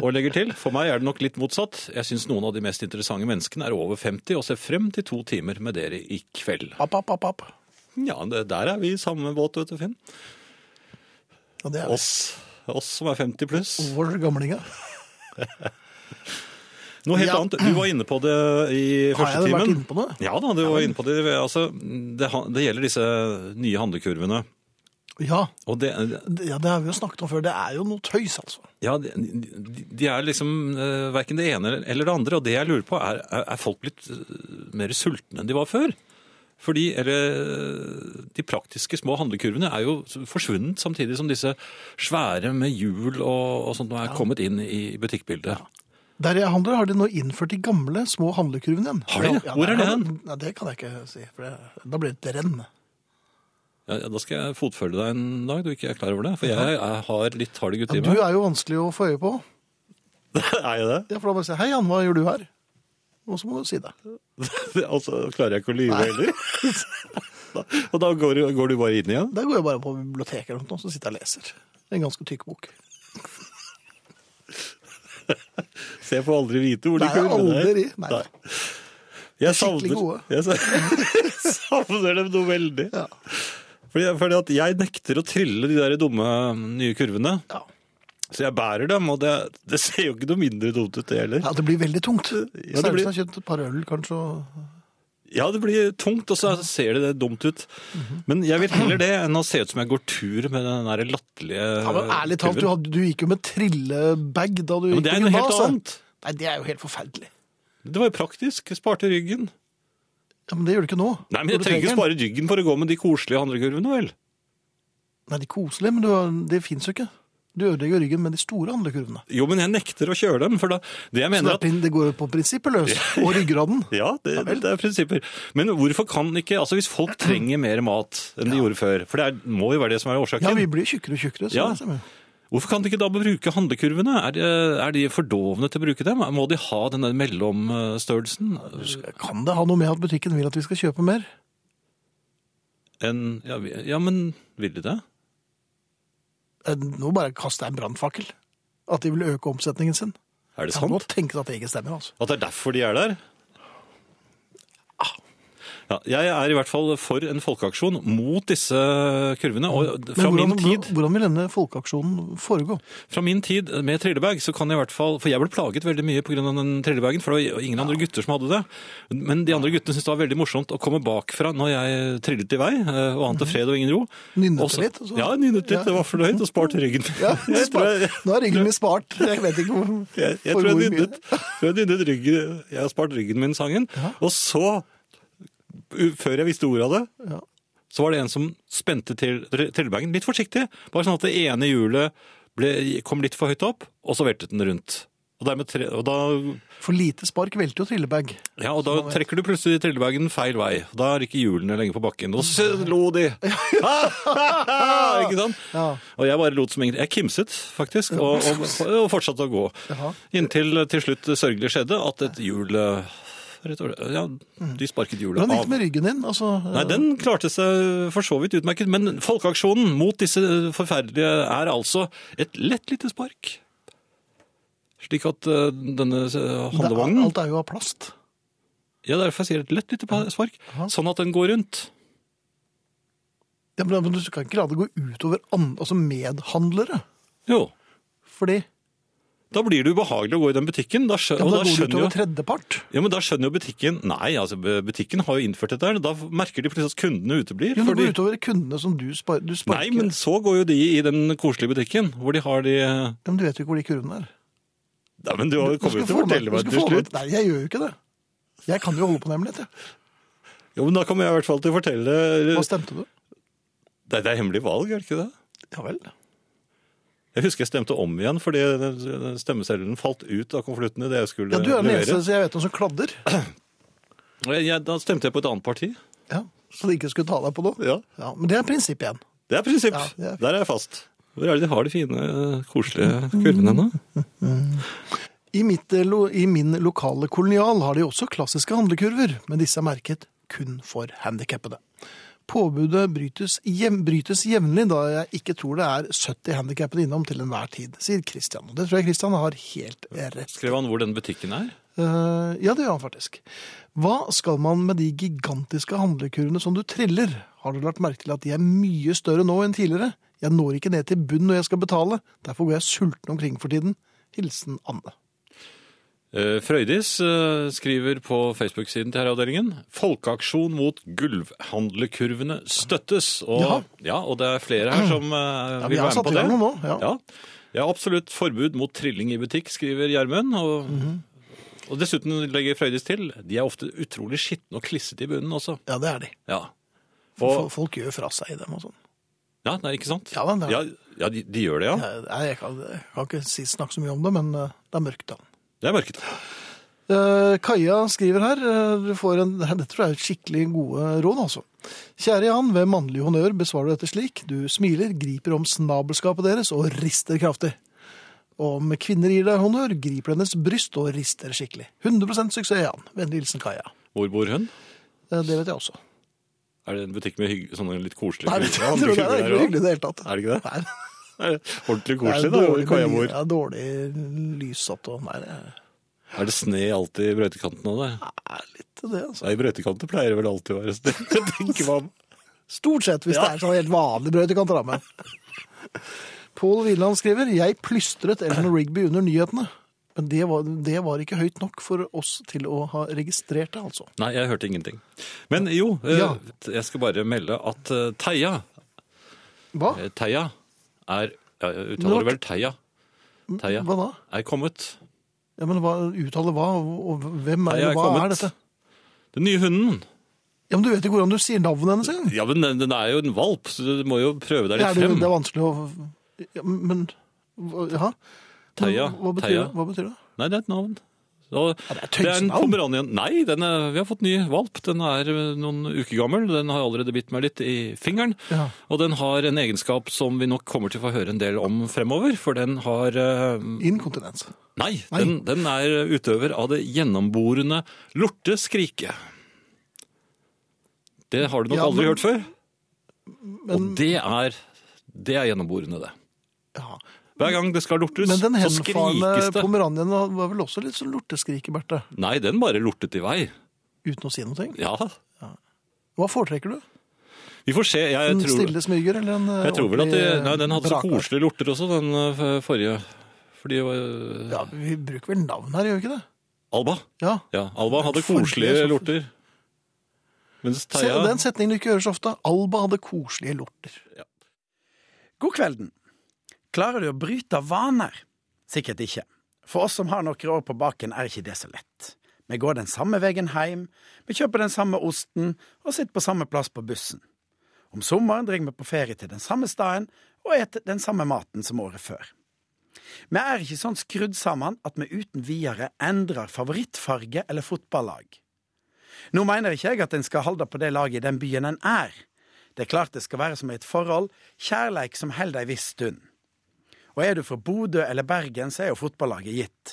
[SPEAKER 2] og legger til, for meg er det nok litt motsatt. Jeg syns noen av de mest interessante menneskene er over 50 og ser frem til to timer med dere i kveld.
[SPEAKER 1] App, app, app, app.
[SPEAKER 2] Ja, det, der er vi i samme båt, vet du, Finn.
[SPEAKER 1] Ja, det er
[SPEAKER 2] Oss, oss som er 50 pluss.
[SPEAKER 1] vår gamlinga.
[SPEAKER 2] Noe helt
[SPEAKER 1] Ja.
[SPEAKER 2] annet. Du var inne på det i
[SPEAKER 1] Har
[SPEAKER 2] første
[SPEAKER 1] jeg vært
[SPEAKER 2] timen.
[SPEAKER 1] inne på det?
[SPEAKER 2] Ja da, du var inne på det. Altså, det, ha- det gjelder disse nye handlekurvene.
[SPEAKER 1] Ja,
[SPEAKER 2] Og det,
[SPEAKER 1] det, ja, det har vi jo snakket om før. Det er jo noe tøys, altså.
[SPEAKER 2] Ja, de, de- de er liksom uh, verken det ene eller det andre, og det jeg lurer på er, er er folk blitt eh, mer sultne enn de var før? Fordi, eller, eh, De praktiske små handlekurvene er jo forsvunnet, samtidig som disse svære med hjul og, og sånt nå er kommet inn i butikkbildet.
[SPEAKER 1] Der jeg handler, har de nå innført de gamle, små handlekurvene igjen.
[SPEAKER 2] Har de det? Hvor er
[SPEAKER 1] nei,
[SPEAKER 2] det hen?
[SPEAKER 1] Nei, det kan jeg ikke si, for det, da blir det et renn.
[SPEAKER 2] Ja, ja, da skal jeg fotfølge deg en dag du ikke er klar over det. For jeg, jeg har litt harde gutter
[SPEAKER 1] Ja,
[SPEAKER 2] i
[SPEAKER 1] du
[SPEAKER 2] meg.
[SPEAKER 1] er jo vanskelig å få øye på.
[SPEAKER 2] er [laughs] jeg det?
[SPEAKER 1] Ja, for da bare sier jeg, hei Jan, hva gjør du her? Og så må du si det.
[SPEAKER 2] altså, klarer jeg ikke å lyve heller. [laughs] og da går, du- går du bare inn igjen?
[SPEAKER 1] Der går jeg bare på biblioteket eller noe, så sitter jeg og leser. En ganske tykk bok.
[SPEAKER 2] Så jeg får aldri vite hvor
[SPEAKER 1] Nei, aldri. Nei.
[SPEAKER 2] Nei. Jeg
[SPEAKER 1] skikkelig
[SPEAKER 2] savner,
[SPEAKER 1] gode.
[SPEAKER 2] [laughs] jeg sa- savner dem noe veldig.
[SPEAKER 1] Ja.
[SPEAKER 2] Fordi, fordi at jeg nekter å trille de der dumme nye kurvene.
[SPEAKER 1] Ja.
[SPEAKER 2] Så jeg bærer dem, og det, det ser jo ikke noe mindre dumt ut det heller.
[SPEAKER 1] ja, det blir veldig tungt.
[SPEAKER 2] det
[SPEAKER 1] Særlig
[SPEAKER 2] blir-
[SPEAKER 1] hvis du har kjøpt et par øl, kanskje. og-
[SPEAKER 2] Ja, det blir tungt, og så ser det dumt ut.
[SPEAKER 1] Mhm.
[SPEAKER 2] Men jeg vil heller det enn å se ut som jeg går tur med den der latterlige
[SPEAKER 1] Ja, men ærlig talt, du,
[SPEAKER 2] kurven.
[SPEAKER 1] hadde, du gikk jo med trillebag da du
[SPEAKER 2] Ja,
[SPEAKER 1] gikk
[SPEAKER 2] men det er
[SPEAKER 1] på
[SPEAKER 2] noe helt
[SPEAKER 1] gymnaset.
[SPEAKER 2] annet.
[SPEAKER 1] Nei, det er jo helt forferdelig.
[SPEAKER 2] Det var jo praktisk. jeg Sparte ryggen.
[SPEAKER 1] Ja, men det gjør du ikke nå.
[SPEAKER 2] Nei, men
[SPEAKER 1] Når
[SPEAKER 2] jeg
[SPEAKER 1] du
[SPEAKER 2] trenger ikke
[SPEAKER 1] den.
[SPEAKER 2] spare ryggen for å gå med de koselige handlekurvene, vel?
[SPEAKER 1] Nei, de koselige, men du, har- det fins jo ikke. Du ødelegger ryggen med de store handlekurvene.
[SPEAKER 2] Jo, men jeg nekter å kjøre dem, for da, det
[SPEAKER 1] Så
[SPEAKER 2] jeg
[SPEAKER 1] det,
[SPEAKER 2] mener
[SPEAKER 1] er
[SPEAKER 2] at
[SPEAKER 1] prin- det går jo på prinsippet løs. Og
[SPEAKER 2] [laughs]
[SPEAKER 1] ryggraden.
[SPEAKER 2] Ja, det, det er prinsipper. Men hvorfor kan ikke altså Hvis folk trenger mer mat enn de gjorde før, for det er, må jo være det som er årsaken,
[SPEAKER 1] Ja, vi blir tjukkere og tjukkere. Så
[SPEAKER 2] Ja.
[SPEAKER 1] det stemmer.
[SPEAKER 2] hvorfor kan de ikke da bruke handlekurvene? Er de, er de for dovne til å bruke dem? Må de ha den der mellomstørrelsen?
[SPEAKER 1] Kan det ha noe med at butikken vil at vi skal kjøpe mer?
[SPEAKER 2] En Ja, vi- ja men vil de det?
[SPEAKER 1] Eh, Nå bare kaster jeg en brannfakkel. At de vil øke omsetningen sin.
[SPEAKER 2] Er det
[SPEAKER 1] Jeg hadde
[SPEAKER 2] sant?
[SPEAKER 1] godt tenkt at det ikke stemmer, altså.
[SPEAKER 2] At det er derfor de er der? Ja, jeg er i hvert fall for en folkeaksjon mot disse kurvene. Og
[SPEAKER 1] Men
[SPEAKER 2] fra
[SPEAKER 1] hvordan,
[SPEAKER 2] min tid
[SPEAKER 1] hvordan vil denne folkeaksjonen
[SPEAKER 2] [laughs]
[SPEAKER 1] foregå?
[SPEAKER 2] fra min tid med trillebag, så kan jeg i hvert fall For jeg ble plaget veldig mye pga. den trillebagen, for det var ingen andre gutter som hadde det. Men de andre guttene syntes det var veldig morsomt å komme bakfra når jeg trillet i vei, eh, og ante fred og ingen ro.
[SPEAKER 1] Mhm. Nynnet
[SPEAKER 2] Og så-
[SPEAKER 1] litt, og så-
[SPEAKER 2] Ja, nynnet litt. Det var fornøyd og sparte ryggen. [laughs]
[SPEAKER 1] Ja,
[SPEAKER 2] jeg tror jeg,
[SPEAKER 1] Nå er ryggen min spart. Jeg vet ikke hvor,
[SPEAKER 2] jeg, jeg
[SPEAKER 1] for
[SPEAKER 2] tror jeg
[SPEAKER 1] hvor mye.
[SPEAKER 2] nynnet, [laughs] tror jeg nynnet ryggen. Jeg har spart ryggen min sangen. Og så, u- før jeg visste ordet av det,
[SPEAKER 1] Ja.
[SPEAKER 2] så var det en som spente til tr- trillebagen litt forsiktig. Bare sånn at det ene hjulet ble, kom litt for høyt opp, og så veltet den rundt. Og, dermed, tre- og, da,
[SPEAKER 1] For lite spark velter jo trillebag.
[SPEAKER 2] ja, og da trekker du plutselig trillebagen feil vei. Og da rykker hjulene lenger på bakken. Og så lo de!
[SPEAKER 1] [laughs]
[SPEAKER 2] Ikke sant?
[SPEAKER 1] Ja.
[SPEAKER 2] Og jeg bare lot som ingenting. Jeg kimset, faktisk, og, og, og fortsatte å gå.
[SPEAKER 1] Jaha.
[SPEAKER 2] Inntil eh, til slutt det sørgelig skjedde at et hjul eh, rett og slett, Ja, de sparket hjulet
[SPEAKER 1] Hvordan Mm. gikk
[SPEAKER 2] av.
[SPEAKER 1] det med ryggen din? Altså,
[SPEAKER 2] Nei, den klarte seg for så vidt utmerket, men folkeaksjonen mot disse forferdelige er altså et lett lite spark. Slik at eh, denne eh,
[SPEAKER 1] det er,
[SPEAKER 2] handlevognen
[SPEAKER 1] alt er jo av plast.
[SPEAKER 2] Ja, derfor sier jeg et lett lite pa- spark.
[SPEAKER 1] Aha.
[SPEAKER 2] Sånn at den går rundt.
[SPEAKER 1] Ja, men men du kan ikke la det gå utover an- altså medhandlere.
[SPEAKER 2] Jo.
[SPEAKER 1] Fordi
[SPEAKER 2] Da blir det ubehagelig å gå i den butikken. Da skjø-
[SPEAKER 1] ja, men
[SPEAKER 2] og
[SPEAKER 1] da
[SPEAKER 2] da
[SPEAKER 1] går det
[SPEAKER 2] skjønner jo
[SPEAKER 1] utover tredjepart.
[SPEAKER 2] Ja, men da skjønner jo butikken Nei, altså butikken har jo innført dette her. Da merker de plutselig at kundene uteblir.
[SPEAKER 1] Jo, det
[SPEAKER 2] fordi-
[SPEAKER 1] går utover kundene som du, spar, du
[SPEAKER 2] Nei,
[SPEAKER 1] sparker.
[SPEAKER 2] men så går jo de i den koselige butikken, hvor de har de
[SPEAKER 1] Ja, men du vet jo ikke hvor de kurvene er.
[SPEAKER 2] Nei, men du har- kommer
[SPEAKER 1] skal
[SPEAKER 2] jo til
[SPEAKER 1] få
[SPEAKER 2] å
[SPEAKER 1] meg-
[SPEAKER 2] fortelle
[SPEAKER 1] du
[SPEAKER 2] meg
[SPEAKER 1] skal
[SPEAKER 2] til
[SPEAKER 1] få meg-
[SPEAKER 2] slutt.
[SPEAKER 1] Nei, jeg gjør jo ikke det. Jeg kan jo holde på nemlig. jeg.
[SPEAKER 2] Jo, men da kommer jeg i hvert fall til å fortelle
[SPEAKER 1] Hva stemte du?
[SPEAKER 2] Nei, det er hemmelig valg, er det ikke det?
[SPEAKER 1] Ja vel.
[SPEAKER 2] Jeg husker jeg stemte om igjen fordi den- den stemmeseddelen falt ut av konvoluttene. Det jeg skulle
[SPEAKER 1] Ja, du er den
[SPEAKER 2] levere.
[SPEAKER 1] eneste jeg vet om som kladder.
[SPEAKER 2] Og jeg- jeg- Da stemte jeg på et annet parti.
[SPEAKER 1] Ja, så de ikke skulle ta deg på noe.
[SPEAKER 2] Ja.
[SPEAKER 1] Ja, men det er prinsippet igjen.
[SPEAKER 2] Det er prinsipp.
[SPEAKER 1] Ja, det er-
[SPEAKER 2] Der er jeg fast. Hvor er det de har de fine, koselige kurvene nå?
[SPEAKER 1] I, mitt, eh, lo- I min lokale kolonial har de også klassiske handlekurver, men disse er merket kun for handikappede. Påbudet brytes, jevn, brytes jevnlig, da jeg ikke tror det er 70 handikappede innom til enhver tid, sier Christian. Og det tror jeg Christian har helt rett.
[SPEAKER 2] Skrev han hvor den butikken er?
[SPEAKER 1] Eh, ja, det gjør han faktisk. Hva skal man med de gigantiske handlekurvene som du triller? Har du lagt merke til at de er mye større nå enn tidligere? Jeg når ikke ned til bunn når jeg skal betale, derfor går jeg sulten omkring for tiden. Hilsen Anne.
[SPEAKER 2] Eh, Frøydis eh, skriver på Facebook-siden til herreavdelingen Folkeaksjon mot gulvhandlekurvene støttes. Og,
[SPEAKER 1] Jaha.
[SPEAKER 2] ja, og det er flere her som eh,
[SPEAKER 1] Ja, vi
[SPEAKER 2] vil
[SPEAKER 1] har
[SPEAKER 2] være med
[SPEAKER 1] satt
[SPEAKER 2] på
[SPEAKER 1] i
[SPEAKER 2] det.
[SPEAKER 1] gang noe nå. Ja.
[SPEAKER 2] Ja. Jeg har absolutt forbud mot trilling i butikk, skriver Gjermund. Og,
[SPEAKER 1] Mhm.
[SPEAKER 2] og dessuten legger Frøydis til de er ofte utrolig skitne og klissete i bunnen også.
[SPEAKER 1] Ja, det er de.
[SPEAKER 2] Ja.
[SPEAKER 1] Fol-
[SPEAKER 2] Og,
[SPEAKER 1] Folk gjør fra seg i dem og sånn.
[SPEAKER 2] ja, nei, ikke sant?
[SPEAKER 1] Ja, men det er-
[SPEAKER 2] ja, ja de, de gjør det, ja.
[SPEAKER 1] Jeg, jeg, kan, jeg kan ikke si, snakke så mye om det, men eh, det er mørkt da.
[SPEAKER 2] Det er mørket.
[SPEAKER 1] Eh, Kaja skriver her, eh, du får en, [laughs] dette tror jeg er skikkelig gode råd altså. Kjære Jan, ved mannlig honnør besvarer du dette slik. Du smiler, griper om snabelskapet deres og rister kraftig. Om kvinner gir deg honnør, griper hennes bryst og rister skikkelig. 100 suksess, Jan. Vennlig hilsen Kaja.
[SPEAKER 2] Hvor bor hun?
[SPEAKER 1] Eh, Det vet jeg også.
[SPEAKER 2] Er det en butikk med hygg, sånne litt koselige
[SPEAKER 1] Nei, [laughs] det,
[SPEAKER 2] kurver?
[SPEAKER 1] jeg tror det er ikke hyggelig i det hele tatt.
[SPEAKER 2] Er det ikke det?
[SPEAKER 1] Nei,
[SPEAKER 2] Er det Ordentlig
[SPEAKER 1] det er
[SPEAKER 2] koselig, da.
[SPEAKER 1] dårlig,
[SPEAKER 2] hvor jeg
[SPEAKER 1] med-
[SPEAKER 2] bor.
[SPEAKER 1] ja, dårlig lyssatt og Nei, det er
[SPEAKER 2] Er det sne alltid i brøytekanten av det?
[SPEAKER 1] er litt det, altså.
[SPEAKER 2] Nei, i brøytekanten pleier det vel alltid å være sne. [laughs] Jeg tenker meg om.
[SPEAKER 1] Stort sett, hvis det er sånn helt vanlig brøytekanter,
[SPEAKER 2] [laughs]
[SPEAKER 1] da, men. Pål Wieland skriver Jeg plystret Ellen Rigby under nyhetene. Men det var, det var ikke høyt nok for oss til å ha registrert det, altså.
[SPEAKER 2] Nei, jeg hørte ingenting. Men jo, eh,
[SPEAKER 1] Ja.
[SPEAKER 2] jeg skal bare melde at eh, Theia
[SPEAKER 1] Hva?
[SPEAKER 2] eh, Theia er ja, Jeg uttaler det vel Theia. Theia
[SPEAKER 1] Hva da?
[SPEAKER 2] er kommet.
[SPEAKER 1] Ja, men hva, Uttale hva, og, og hvem er,
[SPEAKER 2] Theia
[SPEAKER 1] hva er dette?
[SPEAKER 2] Den nye hunden.
[SPEAKER 1] Ja, men Du vet ikke hvordan du sier navnet hennes engang!
[SPEAKER 2] Ja, men den, den er jo en valp, så du må jo prøve deg
[SPEAKER 1] Det,
[SPEAKER 2] litt
[SPEAKER 1] er det-
[SPEAKER 2] frem.
[SPEAKER 1] det er vanskelig å ja, Men hva- Jaha? Men
[SPEAKER 2] Theia,
[SPEAKER 1] Hva betyr,
[SPEAKER 2] Theia.
[SPEAKER 1] det? hva betyr det?
[SPEAKER 2] Nei, det er et navn. Så,
[SPEAKER 1] det er et
[SPEAKER 2] en
[SPEAKER 1] tøysenavn.
[SPEAKER 2] pomeranian. Nei, den er, vi har fått ny valp. Den er eh, noen uker gammel. Den har allerede bitt meg litt i fingeren.
[SPEAKER 1] Ja.
[SPEAKER 2] Og den har en egenskap som vi nok kommer til å få høre en del om fremover. For den har eh,
[SPEAKER 1] Inkontinens.
[SPEAKER 2] Nei,
[SPEAKER 1] Nei.
[SPEAKER 2] Den, den er utøver av det gjennomborende lorteskriket. Det har du nok
[SPEAKER 1] Ja,
[SPEAKER 2] aldri
[SPEAKER 1] men-
[SPEAKER 2] hørt før. Og det er, det er gjennomborende, det.
[SPEAKER 1] Ja.
[SPEAKER 2] Hver gang det skal lortes,
[SPEAKER 1] Men den
[SPEAKER 2] så skrikes
[SPEAKER 1] henfarne
[SPEAKER 2] det.
[SPEAKER 1] pomeranien var vel også litt sånn lorteskrik, Berte?
[SPEAKER 2] Nei, den bare lortet i vei.
[SPEAKER 1] Uten å si noe. ting.
[SPEAKER 2] Ja,
[SPEAKER 1] Hva foretrekker du?
[SPEAKER 2] vi får se. Jeg
[SPEAKER 1] En
[SPEAKER 2] tror,
[SPEAKER 1] stille smyger eller en eh,
[SPEAKER 2] jeg tror vel at de,
[SPEAKER 1] ordentlig, eh,
[SPEAKER 2] nei, den hadde så
[SPEAKER 1] brakar?
[SPEAKER 2] koselige lorter også, den eh, forrige. Fordi det var-
[SPEAKER 1] Ja, Vi bruker vel navn her, gjør vi ikke det?
[SPEAKER 2] Alba.
[SPEAKER 1] Ja.
[SPEAKER 2] Ja, Alba hadde
[SPEAKER 1] Forrige
[SPEAKER 2] koselige
[SPEAKER 1] så-
[SPEAKER 2] lorter. Mens
[SPEAKER 1] Se, og
[SPEAKER 2] Theia
[SPEAKER 1] den setningen du ikke hører så ofte. Alba hadde koselige lorter.
[SPEAKER 4] God kvelden. Klarer du å bryte vaner? Sikkert ikke. For oss som har noen år på baken, er ikke det så lett. Vi går den samme veien hjem, vi kjøper den samme osten og sitter på samme plass på bussen. Om sommeren drar vi på ferie til den samme staden og eter den samme maten som året før. Vi er ikke sånn skrudd sammen at vi uten videre endrer favorittfarge eller fotballag. Nå mener ikke jeg at en skal holde på det laget i den byen en er. Det er klart det skal være som i et forhold, kjærleik som holder ei viss stund. Og er du fra Bodø eller Bergen, så er jo fotballaget gitt.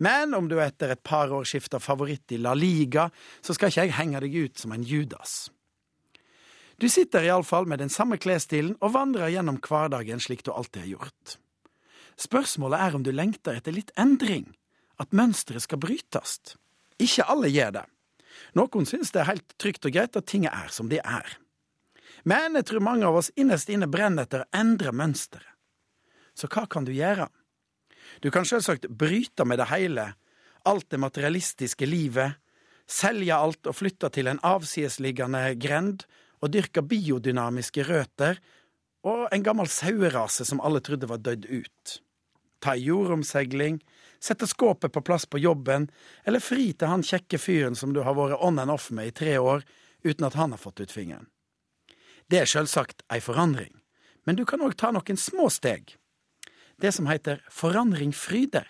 [SPEAKER 4] Men om du etter et par år skifter favoritt i La Liga, så skal ikke jeg henge deg ut som en Judas. Du sitter iallfall med den samme klesstilen og vandrer gjennom hverdagen slik du alltid har gjort. Spørsmålet er om du lengter etter litt endring, at mønsteret skal brytes. Ikke alle gjør det. Noen syns det er helt trygt og greit at ting er som de er. Men jeg tror mange av oss innerst inne brenner etter å endre mønsteret. Så hva kan du gjøre? Du kan selvsagt bryte med det hele, alt det materialistiske livet, selge alt og flytte til en avsidesliggende grend og dyrke biodynamiske røtter og en gammel sauerase som alle trodde var dødd ut. Ta ei jordomseiling, sette skåpet på plass på jobben, eller fri til han kjekke fyren som du har vært on and off med i tre år uten at han har fått ut fingeren. Det er selvsagt ei forandring, men du kan òg ta noen små steg. Det som heter forandring fryder.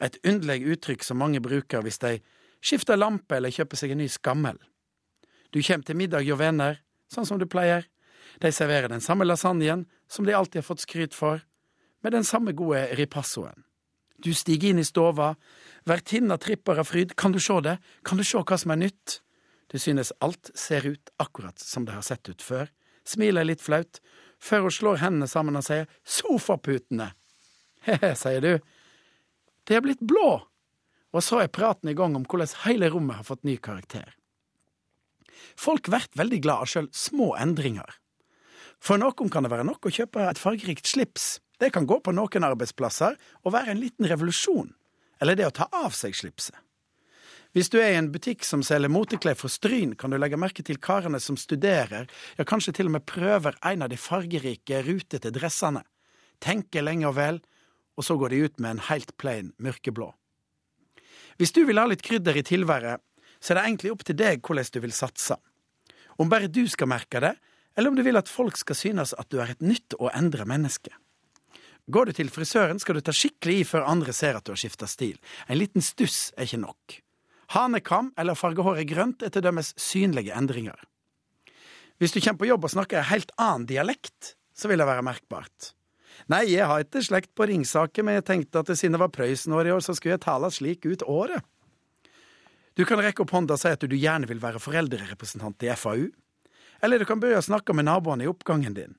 [SPEAKER 4] Et underlig uttrykk som mange bruker hvis de skifter lampe eller kjøper seg en ny skammel. Du kommer til middag hjå venner, sånn som du pleier. De serverer den samme lasagnen som de alltid har fått skryt for, med den samme gode ripassoen. Du stiger inn i stova, vertinna tripper av fryd, kan du sjå det, kan du sjå hva som er nytt? Du synes alt ser ut akkurat som det har sett ut før, smiler litt flaut, før hun slår hendene sammen og sier sofaputene. He-he, sier du. De er blitt blå. Og så er praten i gang om hvordan hele rommet har fått ny karakter. Folk blir veldig glad av sjøl små endringer. For noen kan det være nok å kjøpe et fargerikt slips. Det kan gå på noen arbeidsplasser og være en liten revolusjon. Eller det å ta av seg slipset. Hvis du er i en butikk som selger moteklær fra Stryn, kan du legge merke til karene som studerer, ja, kanskje til og med prøver en av de fargerike, rutete dressene. Tenker lenge og vel, og så går de ut med en helt plain mørkeblå. Hvis du vil ha litt krydder i tilværet, så er det egentlig opp til deg hvordan du vil satse. Om bare du skal merke det, eller om du vil at folk skal synes at du er et nytt og endra menneske. Går du til frisøren, skal du ta skikkelig i før andre ser at du har skifta stil. En liten stuss er ikke nok. Hanekam eller farge håret grønt er til dømes synlige endringer. Hvis du kommer på jobb og snakker en helt annen dialekt, så vil det være merkbart. Nei, jeg har ikke slekt på Ringsaker, men jeg tenkte at siden det var Prøysenår i år, så skulle jeg tale slik ut året. Du kan rekke opp hånda og si at du gjerne vil være foreldrerepresentant i FAU. Eller du kan begynne å snakke med naboene i oppgangen din.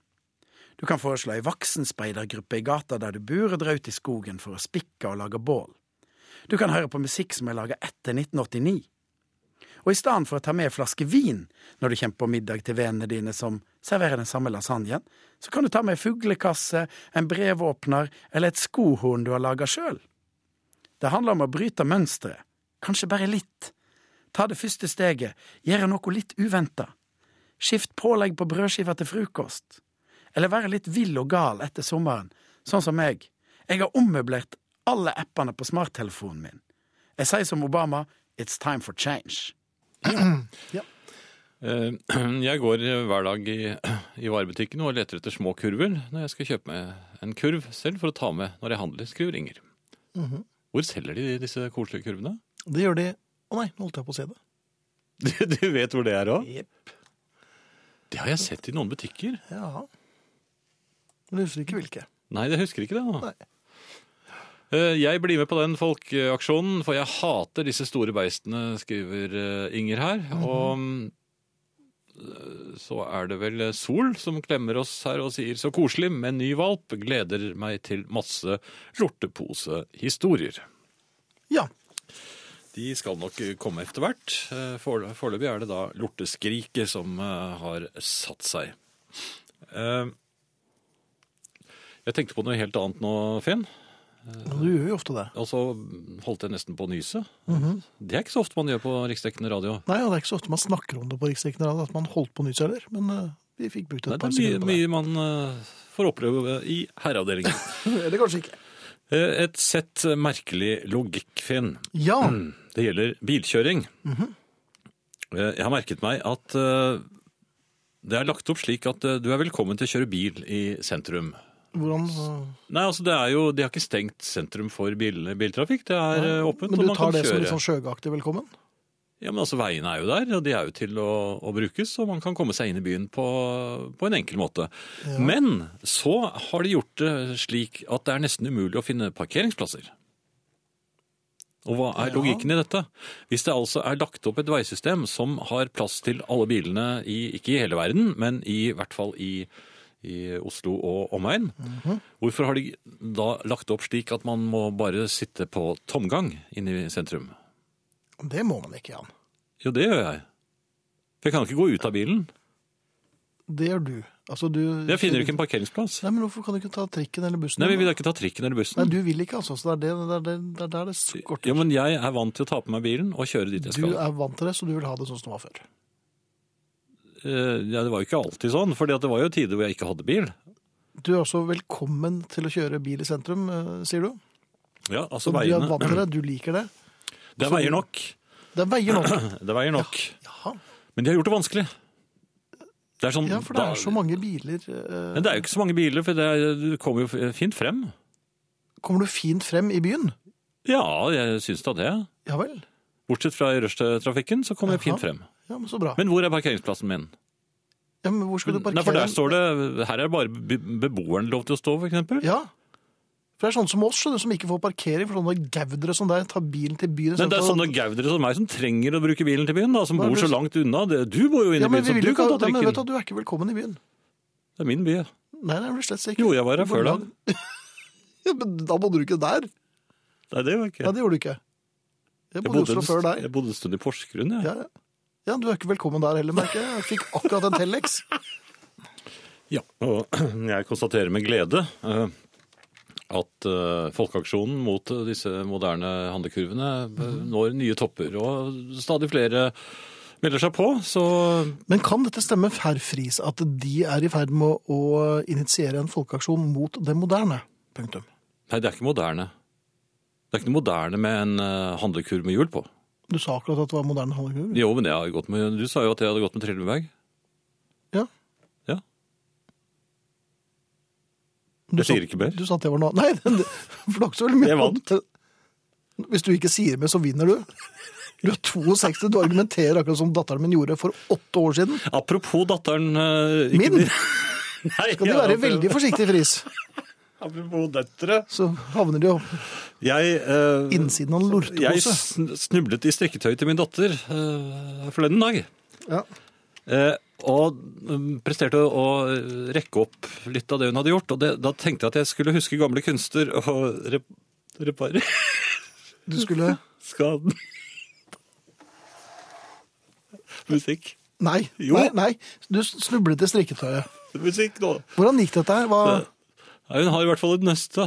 [SPEAKER 4] Du kan foreslå ei voksenspeidergruppe i gata der du bor, og dra ut i skogen for å spikke og lage bål. Du kan høre på musikk som er laga etter 1989. Og i stedet for å ta med en flaske vin når du kommer på middag til vennene dine som serverer den samme lasagnen, så kan du ta med en fuglekasse, en brevåpner eller et skohorn du har laga sjøl. Det handler om å bryte mønsteret, kanskje bare litt. Ta det første steget, gjøre noe litt uventa. Skift pålegg på brødskiva til frokost. Eller være litt vill og gal etter sommeren, sånn som meg. Jeg har ommøblert alle appene på smarttelefonen min. Jeg sier som Obama, it's time for change.
[SPEAKER 2] Eh, [clears throat] Jeg går hver dag i, [clears throat] i varebutikken og leter etter små kurver når jeg skal kjøpe meg en kurv selv for å ta med når jeg handler, skriver Inger.
[SPEAKER 1] Mhm.
[SPEAKER 2] Hvor selger de disse koselige kurvene? [laughs]
[SPEAKER 1] Det gjør de Å nei, nå holdt jeg på å si det.
[SPEAKER 2] Du, du vet hvor det er òg?
[SPEAKER 1] Jepp.
[SPEAKER 2] Det har jeg sett i noen butikker.
[SPEAKER 1] Ja. Men jeg husker ikke hvilke.
[SPEAKER 2] Nei, jeg husker ikke det nå.
[SPEAKER 1] Nei.
[SPEAKER 2] Eh, Jeg blir med på den folkeaksjonen, for jeg hater disse store beistene, skriver eh, Inger her. Og mm, så er det vel eh, Sol som klemmer oss her og sier så koselig med ny valp. Gleder meg til masse lorteposehistorier.
[SPEAKER 1] Ja.
[SPEAKER 2] De skal nok komme etter hvert. Eh, forel- Foreløpig er det da lorteskriket som eh, har satt seg. Eh, Jeg tenkte på noe helt annet nå, Finn.
[SPEAKER 1] Du gjør jo ofte det.
[SPEAKER 2] Og så Altså, holdt jeg nesten på å nyse.
[SPEAKER 1] Mhm.
[SPEAKER 2] Det er ikke så ofte man gjør på riksdekkende radio.
[SPEAKER 1] Nei, og det er ikke så ofte man snakker om det på Riksdekken Radio, at man holdt på nytt heller, men eh, vi fikk brukt et
[SPEAKER 2] Nei, det
[SPEAKER 1] par
[SPEAKER 2] er
[SPEAKER 1] sekunder
[SPEAKER 2] mye,
[SPEAKER 1] på det.
[SPEAKER 2] mye man eh, får oppleve i herreavdelingen.
[SPEAKER 1] [laughs] Eller kanskje ikke.
[SPEAKER 2] Eh, Et sett merkelig logikk, Finn.
[SPEAKER 1] Ja,
[SPEAKER 2] Det gjelder bilkjøring.
[SPEAKER 1] Mhm.
[SPEAKER 2] Eh, Jeg har merket meg at eh, det er lagt opp slik at eh, du er velkommen til å kjøre bil i sentrum.
[SPEAKER 1] hvordan eh,
[SPEAKER 2] Nei, altså det er jo, De har ikke stengt sentrum for bil, biltrafikk. Det er eh, åpent.
[SPEAKER 1] Men
[SPEAKER 2] og
[SPEAKER 1] du
[SPEAKER 2] man
[SPEAKER 1] tar
[SPEAKER 2] kan
[SPEAKER 1] det som
[SPEAKER 2] kjøre.
[SPEAKER 1] litt sånn sjøgaktig velkommen?
[SPEAKER 2] Ja, men altså Veiene er jo der, og de er jo til å, å brukes. Og man kan komme seg inn i byen på, på en enkel måte. Men så har de gjort det slik at det er nesten umulig å finne parkeringsplasser. Og hva er
[SPEAKER 1] Ja.
[SPEAKER 2] logikken i dette? Hvis det altså er lagt opp et veisystem som har plass til alle bilene, i, ikke i hele verden, men i hvert fall i, i Oslo og omegn, hvorfor har de da lagt opp slik at man må bare sitte på tomgang inne i sentrum?
[SPEAKER 1] Det må man ikke, Jan.
[SPEAKER 2] Jo, det gjør jeg. For jeg kan ikke gå ut av bilen.
[SPEAKER 1] Det gjør du. Altså, du
[SPEAKER 2] Jeg finner ikke en parkeringsplass.
[SPEAKER 1] Nei, men Hvorfor kan du ikke ta trikken eller bussen?
[SPEAKER 2] Nei, Vi vil da ikke ta trikken eller bussen.
[SPEAKER 1] Nei, du vil ikke, altså. Så det er det- det, er det, det, er der det skorter.
[SPEAKER 2] Ja, men Jeg er vant til å ta på meg bilen og kjøre dit jeg
[SPEAKER 1] du
[SPEAKER 2] skal.
[SPEAKER 1] er vant til det, så du vil ha det sånn som det var før.
[SPEAKER 2] Eh, Ja, det var jo ikke alltid sånn, for det var jo tider hvor jeg ikke hadde bil.
[SPEAKER 1] Du er også velkommen til å kjøre bil i sentrum, eh, sier du.
[SPEAKER 2] Ja, altså
[SPEAKER 1] Du er vant til
[SPEAKER 2] veiene.
[SPEAKER 1] det, du liker det.
[SPEAKER 2] Det er veier nok.
[SPEAKER 1] Det veier nok.
[SPEAKER 2] Det veier nok.
[SPEAKER 1] Jaha.
[SPEAKER 2] Men de har gjort det vanskelig. Det er sånn,
[SPEAKER 1] Ja, for det
[SPEAKER 2] da-
[SPEAKER 1] er så mange biler. eh,
[SPEAKER 2] Men det er jo ikke så mange biler, for det er, du kommer jo fint frem.
[SPEAKER 1] Kommer du fint frem i byen?
[SPEAKER 2] Ja, jeg syns da det.
[SPEAKER 1] Ja vel.
[SPEAKER 2] Bortsett fra i rushtrafikken, så kommer jeg
[SPEAKER 1] Jaha.
[SPEAKER 2] fint frem.
[SPEAKER 1] Ja, men Så bra.
[SPEAKER 2] Men hvor er parkeringsplassen min?
[SPEAKER 1] Ja, men hvor skal du parkere?
[SPEAKER 2] Mm. Nei, for der står det Her er bare be- beboeren lov til å stå, for eksempel.
[SPEAKER 1] Ja. For det er sånne som oss, skjønner du, som ikke får parkering. For sånne gaudere som deg tar bilen til byen.
[SPEAKER 2] Men det er sånne gaudere som meg som trenger å bruke bilen til byen, da, som
[SPEAKER 1] Hva er
[SPEAKER 2] bor
[SPEAKER 1] det
[SPEAKER 2] så
[SPEAKER 1] du-
[SPEAKER 2] langt unna. Det- Du bor jo inne
[SPEAKER 1] ja,
[SPEAKER 2] i
[SPEAKER 1] men
[SPEAKER 2] byen,
[SPEAKER 1] vi
[SPEAKER 2] så
[SPEAKER 1] vil
[SPEAKER 2] du
[SPEAKER 1] ikke,
[SPEAKER 2] kan
[SPEAKER 1] ha-
[SPEAKER 2] ta
[SPEAKER 1] Nei, men vet du,
[SPEAKER 2] trikken.
[SPEAKER 1] at du er ikke velkommen i byen.
[SPEAKER 2] Det er min by.
[SPEAKER 1] Nei, det er du slett ikke.
[SPEAKER 2] Jo, jeg var her
[SPEAKER 1] Du får
[SPEAKER 2] før da.
[SPEAKER 1] lag- Ja, [laughs] men da bodde du ikke der.
[SPEAKER 2] Nei, det var ikke
[SPEAKER 1] Ja, det gjorde du ikke. Jeg bodde i Oslo
[SPEAKER 2] en
[SPEAKER 1] før
[SPEAKER 2] st-
[SPEAKER 1] deg.
[SPEAKER 2] jeg bodde en stund i Porsgrunn, jeg.
[SPEAKER 1] Ja, ja. ja, du er ikke velkommen der heller, merker jeg. Jeg fikk akkurat en telex.
[SPEAKER 2] Ja. Og [clears throat] jeg konstaterer med glede eh, at eh, folkeaksjonen mot eh, disse moderne handlekurvene
[SPEAKER 1] Mhm.
[SPEAKER 2] eh, når nye topper, og stadig flere melder seg på, så
[SPEAKER 1] Men kan dette stemme, herr Friis, at de er i ferd med å å initiere en folkeaksjon mot det moderne? Punktum.
[SPEAKER 2] Nei, det er ikke moderne. Det er ikke noe moderne med en eh, handlekurv med hjul på.
[SPEAKER 1] Du sa akkurat at det var moderne handlekurv.
[SPEAKER 2] Jo, men jeg har gått med, Du sa jo at jeg hadde gått med trillebag.
[SPEAKER 1] Ja.
[SPEAKER 2] Ja.
[SPEAKER 1] Du
[SPEAKER 2] Jeg sier ikke mer.
[SPEAKER 1] Du sa at det var noe Nei, [laughs] det, for det er ikke så veldig mye.
[SPEAKER 2] Jeg vant.
[SPEAKER 1] annet. Hvis du ikke sier mer, så vinner du. Du er 62, du argumenterer akkurat som datteren min gjorde for åtte år siden.
[SPEAKER 2] Apropos datteren eh, ikke
[SPEAKER 1] Min!
[SPEAKER 2] bli- [laughs] Nei,
[SPEAKER 1] Kan du
[SPEAKER 2] ja,
[SPEAKER 1] være
[SPEAKER 2] apropos-
[SPEAKER 1] veldig forsiktig, Friis,
[SPEAKER 2] Apropos døtre.
[SPEAKER 1] så havner de jo
[SPEAKER 2] Jeg, eh,
[SPEAKER 1] innsiden av en
[SPEAKER 2] jeg
[SPEAKER 1] lortepose.
[SPEAKER 2] sn- snublet i strikketøy til min datter eh, forleden dag.
[SPEAKER 1] Ja.
[SPEAKER 2] Eh, og mm, presterte å, å rekke opp litt av det hun hadde gjort. Og det, da tenkte jeg at jeg skulle huske gamle kunster og rep reparere
[SPEAKER 1] Du skulle
[SPEAKER 2] skaden. Musikk.
[SPEAKER 1] Nei.
[SPEAKER 2] Jo.
[SPEAKER 1] nei, nei. Du snublet i strikketøyet.
[SPEAKER 2] Musikk nå.
[SPEAKER 1] Hvordan gikk dette her? Hva,
[SPEAKER 2] Nei, hun har i hvert fall et nøste.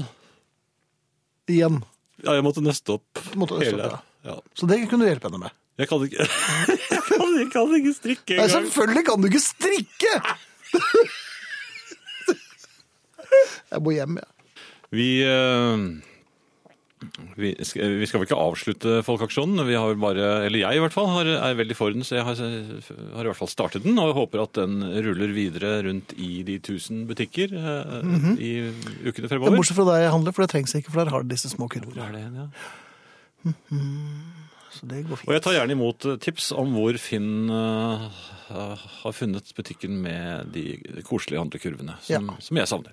[SPEAKER 1] igjen.
[SPEAKER 2] Ja, jeg måtte nøste opp
[SPEAKER 1] Du måtte nøste
[SPEAKER 2] hele.
[SPEAKER 1] opp,
[SPEAKER 2] ja.
[SPEAKER 1] Så det kunne du hjelpe henne med.
[SPEAKER 2] Jeg kan ikke, jeg kan, [laughs] jeg kan ikke strikke
[SPEAKER 1] Nei,
[SPEAKER 2] engang.
[SPEAKER 1] selvfølgelig kan du ikke strikke! Jeg må hjem, jeg.
[SPEAKER 2] Vi, eh, vi, skal, vi skal vel ikke avslutte Folkeaksjonen. Vi har vel bare, eller jeg i hvert fall, har, er veldig for den, så jeg har, har i hvert fall startet den. Og håper at den ruller videre rundt i de tusen butikker eh,
[SPEAKER 1] Mhm.
[SPEAKER 2] i ukene
[SPEAKER 1] Ja,
[SPEAKER 2] fremover.
[SPEAKER 1] bortsett fra deg jeg handler, for det trengs ikke, for der har de disse små
[SPEAKER 2] Hvor
[SPEAKER 1] kurvene.
[SPEAKER 2] er det hen, ja?
[SPEAKER 1] Så det går
[SPEAKER 2] Og
[SPEAKER 1] fint.
[SPEAKER 2] jeg tar gjerne imot eh, tips om hvor Finn eh, har funnet butikken med de koselige handlekurvene, som,
[SPEAKER 1] Ja.
[SPEAKER 2] som jeg savner.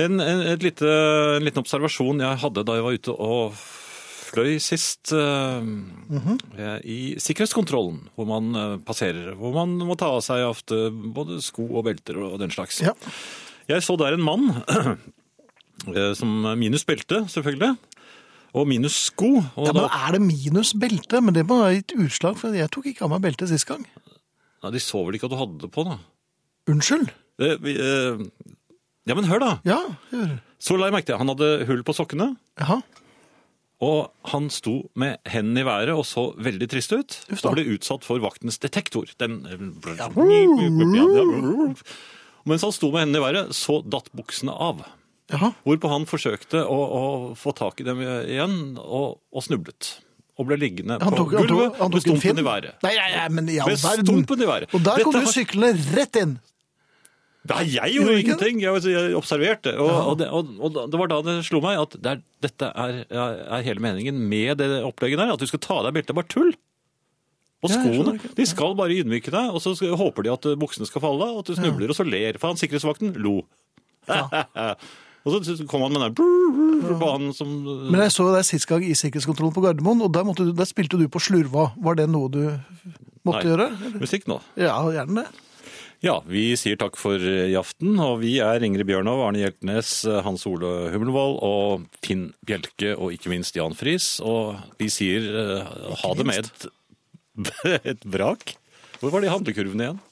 [SPEAKER 2] En, en, et lite, en liten observasjon jeg hadde da jeg var ute og avslører sist eh,
[SPEAKER 1] Mhm.
[SPEAKER 2] eh, i sikkerhetskontrollen, hvor man eh, passerer, hvor man må ta av seg ofte både sko og belter og den slags.
[SPEAKER 1] Ja.
[SPEAKER 2] Jeg så der en mann [clears throat] eh, som minus belte, selvfølgelig, og minus sko. Og
[SPEAKER 1] Ja, men
[SPEAKER 2] da,
[SPEAKER 1] Er det minus belte? Men det må ha gitt utslag, for jeg tok ikke av meg beltet sist gang.
[SPEAKER 2] Nei, de så vel ikke at du hadde det på, da.
[SPEAKER 1] Unnskyld?
[SPEAKER 2] Det, vi, eh, ja, men hør da.
[SPEAKER 1] Ja, hører.
[SPEAKER 2] Så la jeg merke til, han hadde hull på sokkene,
[SPEAKER 1] Jaha.
[SPEAKER 2] og han sto med hendene i været og så veldig trist ut,
[SPEAKER 1] Uff da.
[SPEAKER 2] og ble utsatt for vaktens detektor. Den... eh, Mens han sto med hendene i været, så datt buksene av.
[SPEAKER 1] Jaha.
[SPEAKER 2] Hvorpå han forsøkte å, å få tak i dem igjen, og, og snublet. Og ble liggende
[SPEAKER 1] Han
[SPEAKER 2] på
[SPEAKER 1] tok, han tok,
[SPEAKER 2] gulvet
[SPEAKER 1] han
[SPEAKER 2] med
[SPEAKER 1] tok en
[SPEAKER 2] stumpen
[SPEAKER 1] finn.
[SPEAKER 2] i været.
[SPEAKER 1] Nei, nei, nei, men i all
[SPEAKER 2] Med
[SPEAKER 1] verden.
[SPEAKER 2] stumpen i været.
[SPEAKER 1] Og der
[SPEAKER 2] Dette
[SPEAKER 1] kom jo
[SPEAKER 2] har-
[SPEAKER 1] syklene rett inn.
[SPEAKER 2] Nei, jeg
[SPEAKER 1] Gjorde
[SPEAKER 2] gjorde
[SPEAKER 1] du ikke
[SPEAKER 2] ingenting. Jeg, altså, jeg observerte. Og, og, det, og, og det var da det slo meg at det er, dette er, er hele meningen med det opplegget der. At du skal ta av deg beltet. Det er bare tull. Og
[SPEAKER 1] Ja, jeg skjønner
[SPEAKER 2] skoene
[SPEAKER 1] ikke.
[SPEAKER 2] de skal bare ydmyke deg, og så skal, håper de at eh, buksene skal falle av, og at du snubler, og så ler. For han sikkerhetsvakten lo. [laughs] og så kom han med den der brr, brr, banen som eh,
[SPEAKER 1] Men jeg så deg sist gang i sikkerhetskontrollen på Gardermoen, og der, måtte du, der spilte du på slurva. Var det noe du måtte
[SPEAKER 2] Nei.
[SPEAKER 1] gjøre?
[SPEAKER 2] Musikk nå.
[SPEAKER 1] Ja, gjerne det.
[SPEAKER 2] Ja, vi sier takk for i aften, og vi er Ingrid Bjørnov, Arne Hjeltnes, Hans Ole Hummelvold og Finn Bjelke, og ikke minst Jan Friis. Og vi [laughs] sier eh, ha det med et, et brak. Hvor var de handlekurvene igjen?